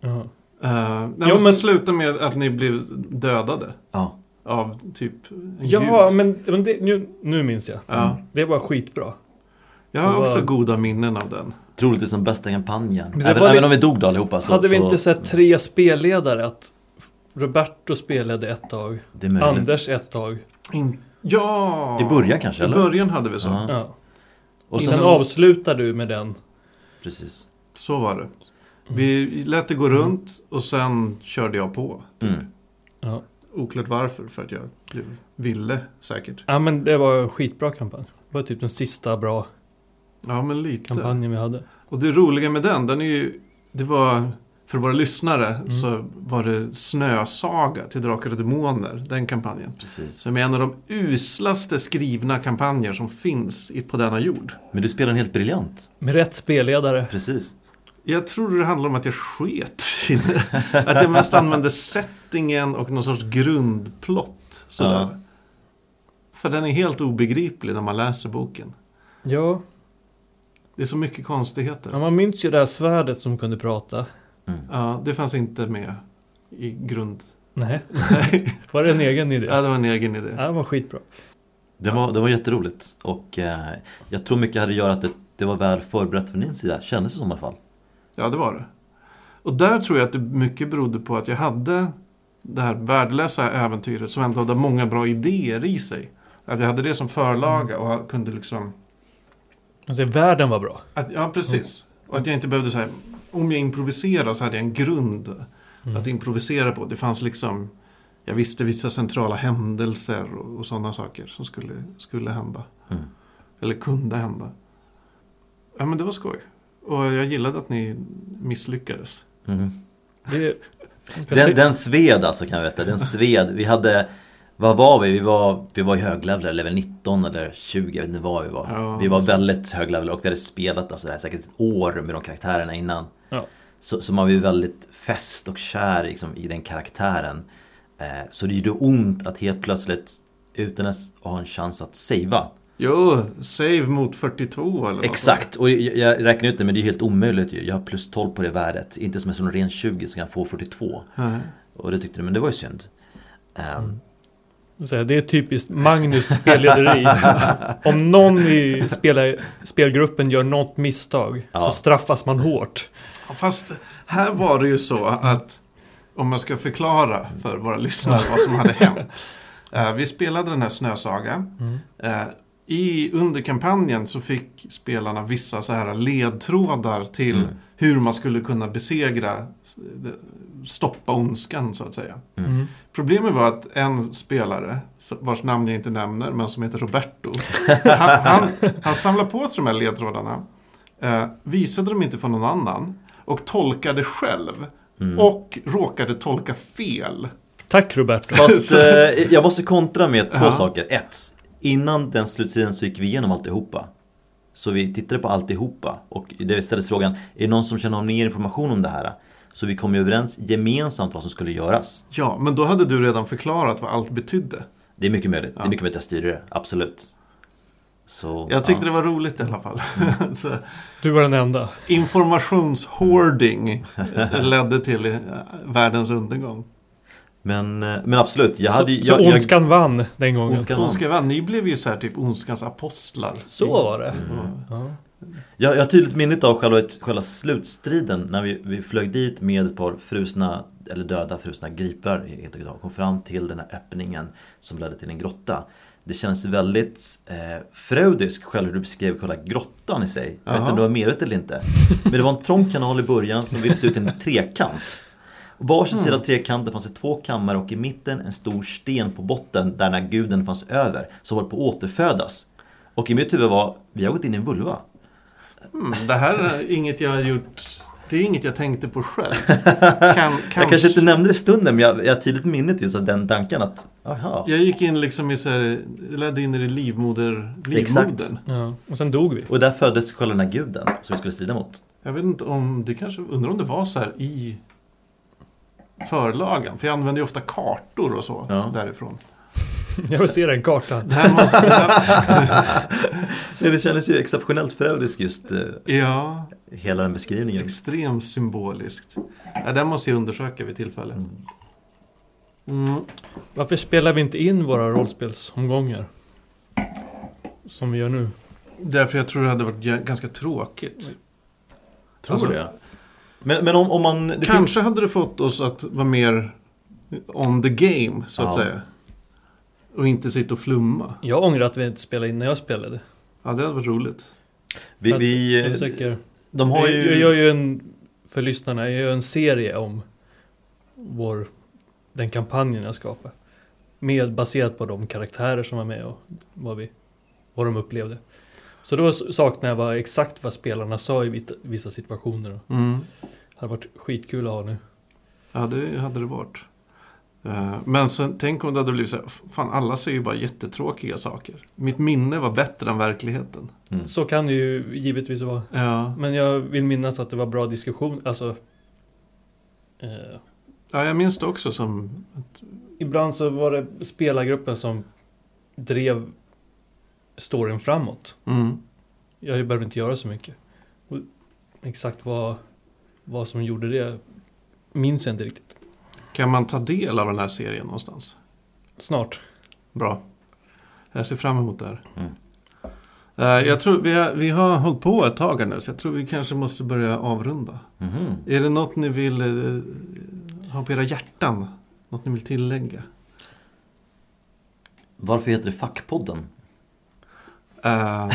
Speaker 2: Jaha.
Speaker 3: Eh, nej,
Speaker 2: Jo,
Speaker 3: men
Speaker 2: men-
Speaker 3: så slutade med att ni blev dödade
Speaker 1: Ja.
Speaker 3: av typ en
Speaker 2: Ja,
Speaker 3: gud.
Speaker 2: men, men det, nu, nu minns jag.
Speaker 3: Ja,
Speaker 2: Det var skitbra.
Speaker 3: jag har
Speaker 2: Det var-
Speaker 3: också goda minnen av den.
Speaker 1: Troligtvis den bästa kampanjen.
Speaker 2: Men det
Speaker 1: Även,
Speaker 2: var
Speaker 1: även
Speaker 2: li-
Speaker 1: om vi dog då allihopa så...
Speaker 2: Hade vi
Speaker 1: så,
Speaker 2: inte sett tre spelledare? Att Roberto spelade ett tag,
Speaker 1: Det är möjligt.
Speaker 2: Anders ett tag.
Speaker 3: In... Ja!
Speaker 1: I början kanske
Speaker 3: I
Speaker 1: eller?
Speaker 3: början hade vi så.
Speaker 1: Ja.
Speaker 2: Ja.
Speaker 1: Och
Speaker 2: sen
Speaker 1: sen...
Speaker 2: avslutar du med den.
Speaker 1: Precis.
Speaker 3: Så var det.
Speaker 1: Mm.
Speaker 3: Vi lät det gå runt och sen körde jag på.
Speaker 1: Mm.
Speaker 2: Ja.
Speaker 3: Oklart varför, för att jag blev, ville säkert.
Speaker 2: ja, men det var en skitbra kampanj. Det var typ den sista bra
Speaker 3: Ja, men lite.
Speaker 2: kampanjen vi hade.
Speaker 3: Och det roliga med den, den är ju, det var, för våra lyssnare så var det Snösaga till Drakar och Demoner, den kampanjen.
Speaker 1: Precis.
Speaker 3: Som är en av de uslaste skrivna kampanjer som finns i- på denna jord.
Speaker 1: Men du spelar den helt briljant.
Speaker 2: Med rätt spelledare.
Speaker 1: Precis.
Speaker 3: Jag tror det handlar om att jag sket i det. Att jag mest använde settingen och någon sorts grundplott. Sådär.
Speaker 1: Ja.
Speaker 3: För den är helt obegriplig när man läser boken.
Speaker 2: Ja,
Speaker 3: Det är så mycket konstigheter.
Speaker 2: ja, man minns ju det här svärdet som kunde prata.
Speaker 1: Mm.
Speaker 3: Ja, det fanns inte med i (laughs) grund...
Speaker 2: Nej,
Speaker 3: Nej,
Speaker 2: var det en egen idé?
Speaker 3: ja,
Speaker 2: Ja,
Speaker 3: det var en egen idé.
Speaker 2: det var skitbra.
Speaker 1: Det var, det var jätteroligt och eh, jag tror mycket hade att göra att det, det var väl förberett från din sida, kändes det som i alla fall.
Speaker 3: Ja, det var det. Och där tror jag att det mycket berodde på att jag hade det här värdelösa äventyret som ändå hade många bra idéer i sig. Att jag hade det som förlaga och kunde liksom...
Speaker 2: Alltså, världen var bra.
Speaker 3: Att, ja, precis. Och att jag inte behövde säga... Om jag improviserade så hade jag en grund
Speaker 2: Mm.
Speaker 3: att improvisera på. Det fanns liksom... Jag visste vissa centrala händelser och, och sådana saker som skulle, skulle hända.
Speaker 1: Mm.
Speaker 3: Eller kunde hända. Ja, men det var skoj. Och jag gillade att ni misslyckades.
Speaker 1: Mhm.
Speaker 2: Det,
Speaker 1: Den, den sved alltså kan jag veta, den sved. Vi hade, vad var vi? Vi var, vi var i höglevlade, level 19 eller 20, jag vet inte vad vi var.
Speaker 3: Ja,
Speaker 1: vi var
Speaker 3: så.
Speaker 1: väldigt höglevlade och vi hade spelat alltså, det här, säkert ett år med de karaktärerna innan.
Speaker 2: Ja.
Speaker 1: Så, så man var ju väldigt fäst och kär liksom, i den karaktären. Eh, så det gjorde ont att helt plötsligt, utan ens att ha en chans att savea,
Speaker 3: Jo, save mot 42 eller något
Speaker 1: Exakt, och jag, jag räknar ut det men det är helt omöjligt ju. Jag har plus 12 på det värdet. Inte som en sån ren 20 som kan få 42.
Speaker 3: Nej.
Speaker 1: Och det tyckte du, men det var ju synd. Ehm,
Speaker 3: Mm.
Speaker 2: så här, det är typiskt Magnus
Speaker 1: (laughs)
Speaker 2: spellederi. Om någon i spelar, spelgruppen gör något misstag
Speaker 1: Ja.
Speaker 2: så straffas man hårt.
Speaker 3: Ja, Fast här var det ju så att om man ska förklara för våra lyssnare vad som
Speaker 1: (laughs)
Speaker 3: hade hänt. Eh, Vi spelade den här Snösaga.
Speaker 1: Mm.
Speaker 3: Eh, I, under kampanjen så fick spelarna vissa så här ledtrådar till
Speaker 1: Mm.
Speaker 3: hur man skulle kunna besegra, stoppa ondskan så att säga.
Speaker 2: Mm.
Speaker 3: Problemet var att en spelare, vars namn jag inte nämner, men som heter Roberto. Han, han, han samlade på sig de här ledtrådarna, eh, visade dem inte för någon annan och tolkade själv. Och råkade tolka fel.
Speaker 2: Tack Roberto.
Speaker 1: Fast
Speaker 3: (laughs)
Speaker 1: eh, jag måste kontra med två
Speaker 3: Ja.
Speaker 1: saker. Ett, innan den slutsidan så gick vi igenom alltihopa. Så vi tittade på alltihopa och det ställdes frågan, är det någon som känner av mer information om det här? Så vi kom ju överens gemensamt vad som skulle göras.
Speaker 3: Ja, men då hade du redan förklarat vad allt betydde.
Speaker 1: Det är mycket möjligt, det
Speaker 3: Ja.
Speaker 1: är mycket möjligt att jag styrde det, absolut. Så,
Speaker 3: Jag tyckte
Speaker 1: ja.
Speaker 3: det var roligt i alla fall. (laughs) Så,
Speaker 2: Du var den enda.
Speaker 1: (laughs)
Speaker 3: informationshoarding ledde till eh, världens undergång.
Speaker 1: Men, eh, men absolut, jag hade
Speaker 2: så,
Speaker 1: jag,
Speaker 2: så
Speaker 1: jag,
Speaker 2: ondskan vann den gången.
Speaker 1: Ondskan vann.
Speaker 3: Ondska vann. Ni blev ju så här typ ondskans apostlar.
Speaker 2: Så var det.
Speaker 3: Mm.
Speaker 2: Ja.
Speaker 1: jag, jag har tydligt minnet av själva, själva slutstriden när vi, vi flög dit med ett par frusna, eller döda frusna gripar helt enkelt och kom fram till den här öppningen som ledde till en grotta. Det känns väldigt eh, freudisk själv hur du beskrev själva grottan i sig. Jag vet inte om
Speaker 3: Jaha.
Speaker 1: du var medveten eller inte. Men det var en trång kanal i början som ville se ut i en trekant. Och Varsin sida av trekanten fanns det två kammare och i mitten en stor sten på botten där den här guden fanns över som höll på att återfödas. Och i mitt huvud var, vi har gått in i en vulva.
Speaker 3: Mm, det här är inget jag har gjort. Det är inget jag tänkte
Speaker 1: (laughs)
Speaker 3: på själv. Kan,
Speaker 1: Jag kanske inte nämnde det i stunden men jag, jag har tydligt minnet just av den tanken att, aha.
Speaker 3: Jag gick in liksom i så här, jag ledde in i det livmoder,
Speaker 1: Exakt.
Speaker 3: livmodern.
Speaker 2: Ja. Och sen dog vi. (laughs)
Speaker 1: Och där föddes själva den här guden som vi skulle strida mot.
Speaker 3: Jag vet inte om, det kanske, undrar om det var så här i förlagen. För jag använder ju ofta kartor och så
Speaker 1: Ja.
Speaker 3: därifrån.
Speaker 2: Jag vill se den kartan.
Speaker 3: Det här måste, det här,
Speaker 1: Ja, Det kändes ju exceptionellt freudisk just eh,
Speaker 3: ja,
Speaker 1: hela den beskrivningen.
Speaker 3: extremt symboliskt. Ja, det måste jag undersöka vid tillfälle. Mm.
Speaker 2: Varför spelar vi inte in våra rollspelsomgångar? Som vi gör nu.
Speaker 3: Därför jag tror det hade varit g- ganska tråkigt.
Speaker 1: Tror
Speaker 3: Alltså,
Speaker 1: det. Men, men om, om man... det finns-
Speaker 3: Kanske hade det fått oss att vara mer on the game, så att
Speaker 1: Ja.
Speaker 3: säga. Och inte sitta och flumma.
Speaker 2: Jag ångrar att vi inte spelade in när jag spelade.
Speaker 3: Ja, det hade varit roligt.
Speaker 1: vi,
Speaker 2: För att
Speaker 1: vi, eh,
Speaker 2: jag, försöker,
Speaker 1: de har
Speaker 2: jag,
Speaker 1: ju...
Speaker 2: jag gör ju en, för lyssnarna, jag gör en serie om vår, den kampanjen jag skapade. Med, baserat på de karaktärer som var med och vad, vi, vad de upplevde. Så då saknar jag vad, exakt vad spelarna sa i vit- vissa situationer.
Speaker 3: Mm.
Speaker 2: Det hade varit skitkul att ha nu.
Speaker 3: Ja, det hade det varit. Eh, Men sen, tänk om det hade blivit så här, fan alla säger ju bara jättetråkiga saker. Mitt minne var bättre än verkligheten.
Speaker 1: Mm.
Speaker 2: Så kan det ju givetvis vara.
Speaker 3: Ja,
Speaker 2: Men jag vill minnas att det var bra diskussion. Alltså, eh,
Speaker 3: ja jag minns det också som,
Speaker 2: ibland så var det spelargruppen som drev storyn framåt.
Speaker 3: mm,
Speaker 2: Jag behövde inte göra så mycket. Och exakt vad, vad som gjorde det minns jag inte riktigt.
Speaker 3: kan man ta del av den här serien någonstans?
Speaker 2: Snart.
Speaker 3: Bra. Jag ser fram emot det här.
Speaker 1: Mm.
Speaker 3: Eh, Jag tror vi har, vi har hållit på ett tag här nu, så jag tror vi kanske måste börja avrunda.
Speaker 1: Mhm.
Speaker 3: Är det något ni vill eh, ha på era hjärtan? Något ni vill tillägga?
Speaker 1: Varför heter det Fackpodden? (laughs)
Speaker 3: Eh,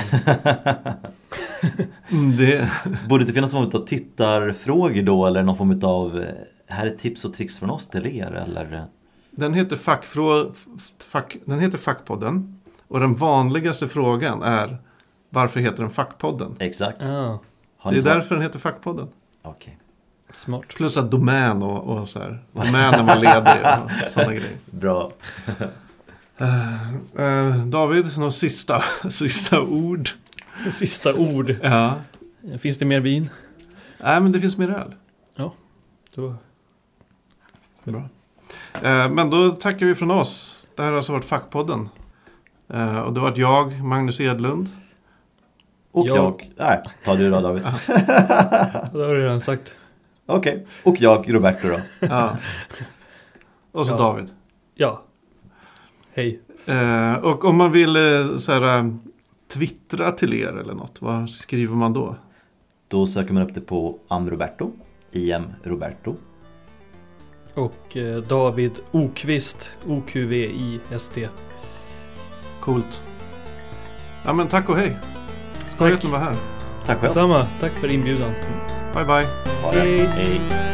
Speaker 3: mm, det,
Speaker 1: Borde det finnas någon form av tittarfrågor då eller någon form av eh, här är tips och tricks från oss till er eller? eh,
Speaker 3: den, heter fackfrå, fack, den heter Fackpodden. Och den vanligaste frågan är varför heter den Fackpodden?
Speaker 1: Exakt.
Speaker 2: Ah,
Speaker 1: Har
Speaker 3: det
Speaker 1: ni
Speaker 3: är
Speaker 1: svar?
Speaker 3: därför den heter Fackpodden.
Speaker 1: Okej.
Speaker 2: smart. (laughs)
Speaker 3: Plus att domän och, och så här. Domänen var ledig (laughs) och sådana grejer.
Speaker 1: Bra.
Speaker 3: Eh, eh, David, några sista, (laughs) sista ord?
Speaker 2: Sista ord.
Speaker 3: Ja.
Speaker 2: Finns det mer vin?
Speaker 3: Nej, men det finns mer öl.
Speaker 2: Då,
Speaker 3: Bra. Eh, Men då tackar vi från oss. Det här har alltså varit Fackpodden. Eh, Och det har varit jag, Magnus Edlund.
Speaker 1: Och
Speaker 2: Jag-
Speaker 1: jag. Nej, ta du då David.
Speaker 2: det har jag redan sagt.
Speaker 1: Okej. Och jag, Roberto då.
Speaker 3: Ja. (laughs) Och så
Speaker 2: Ja.
Speaker 3: David.
Speaker 2: Ja. Hej.
Speaker 3: Eh, Och om man vill eh, så här, eh, twittra till er eller något, vad skriver man då?
Speaker 1: Då söker man upp det på Amroberto. IM Roberto.
Speaker 2: Och eh, David Okvist. O-Q-V-I-S-T.
Speaker 3: Coolt. Ja men tack och hej. Skoj att ni var här.
Speaker 1: Tack själv.
Speaker 2: Samma. Tack för inbjudan.
Speaker 3: Bye bye.
Speaker 1: Ha det. Hej.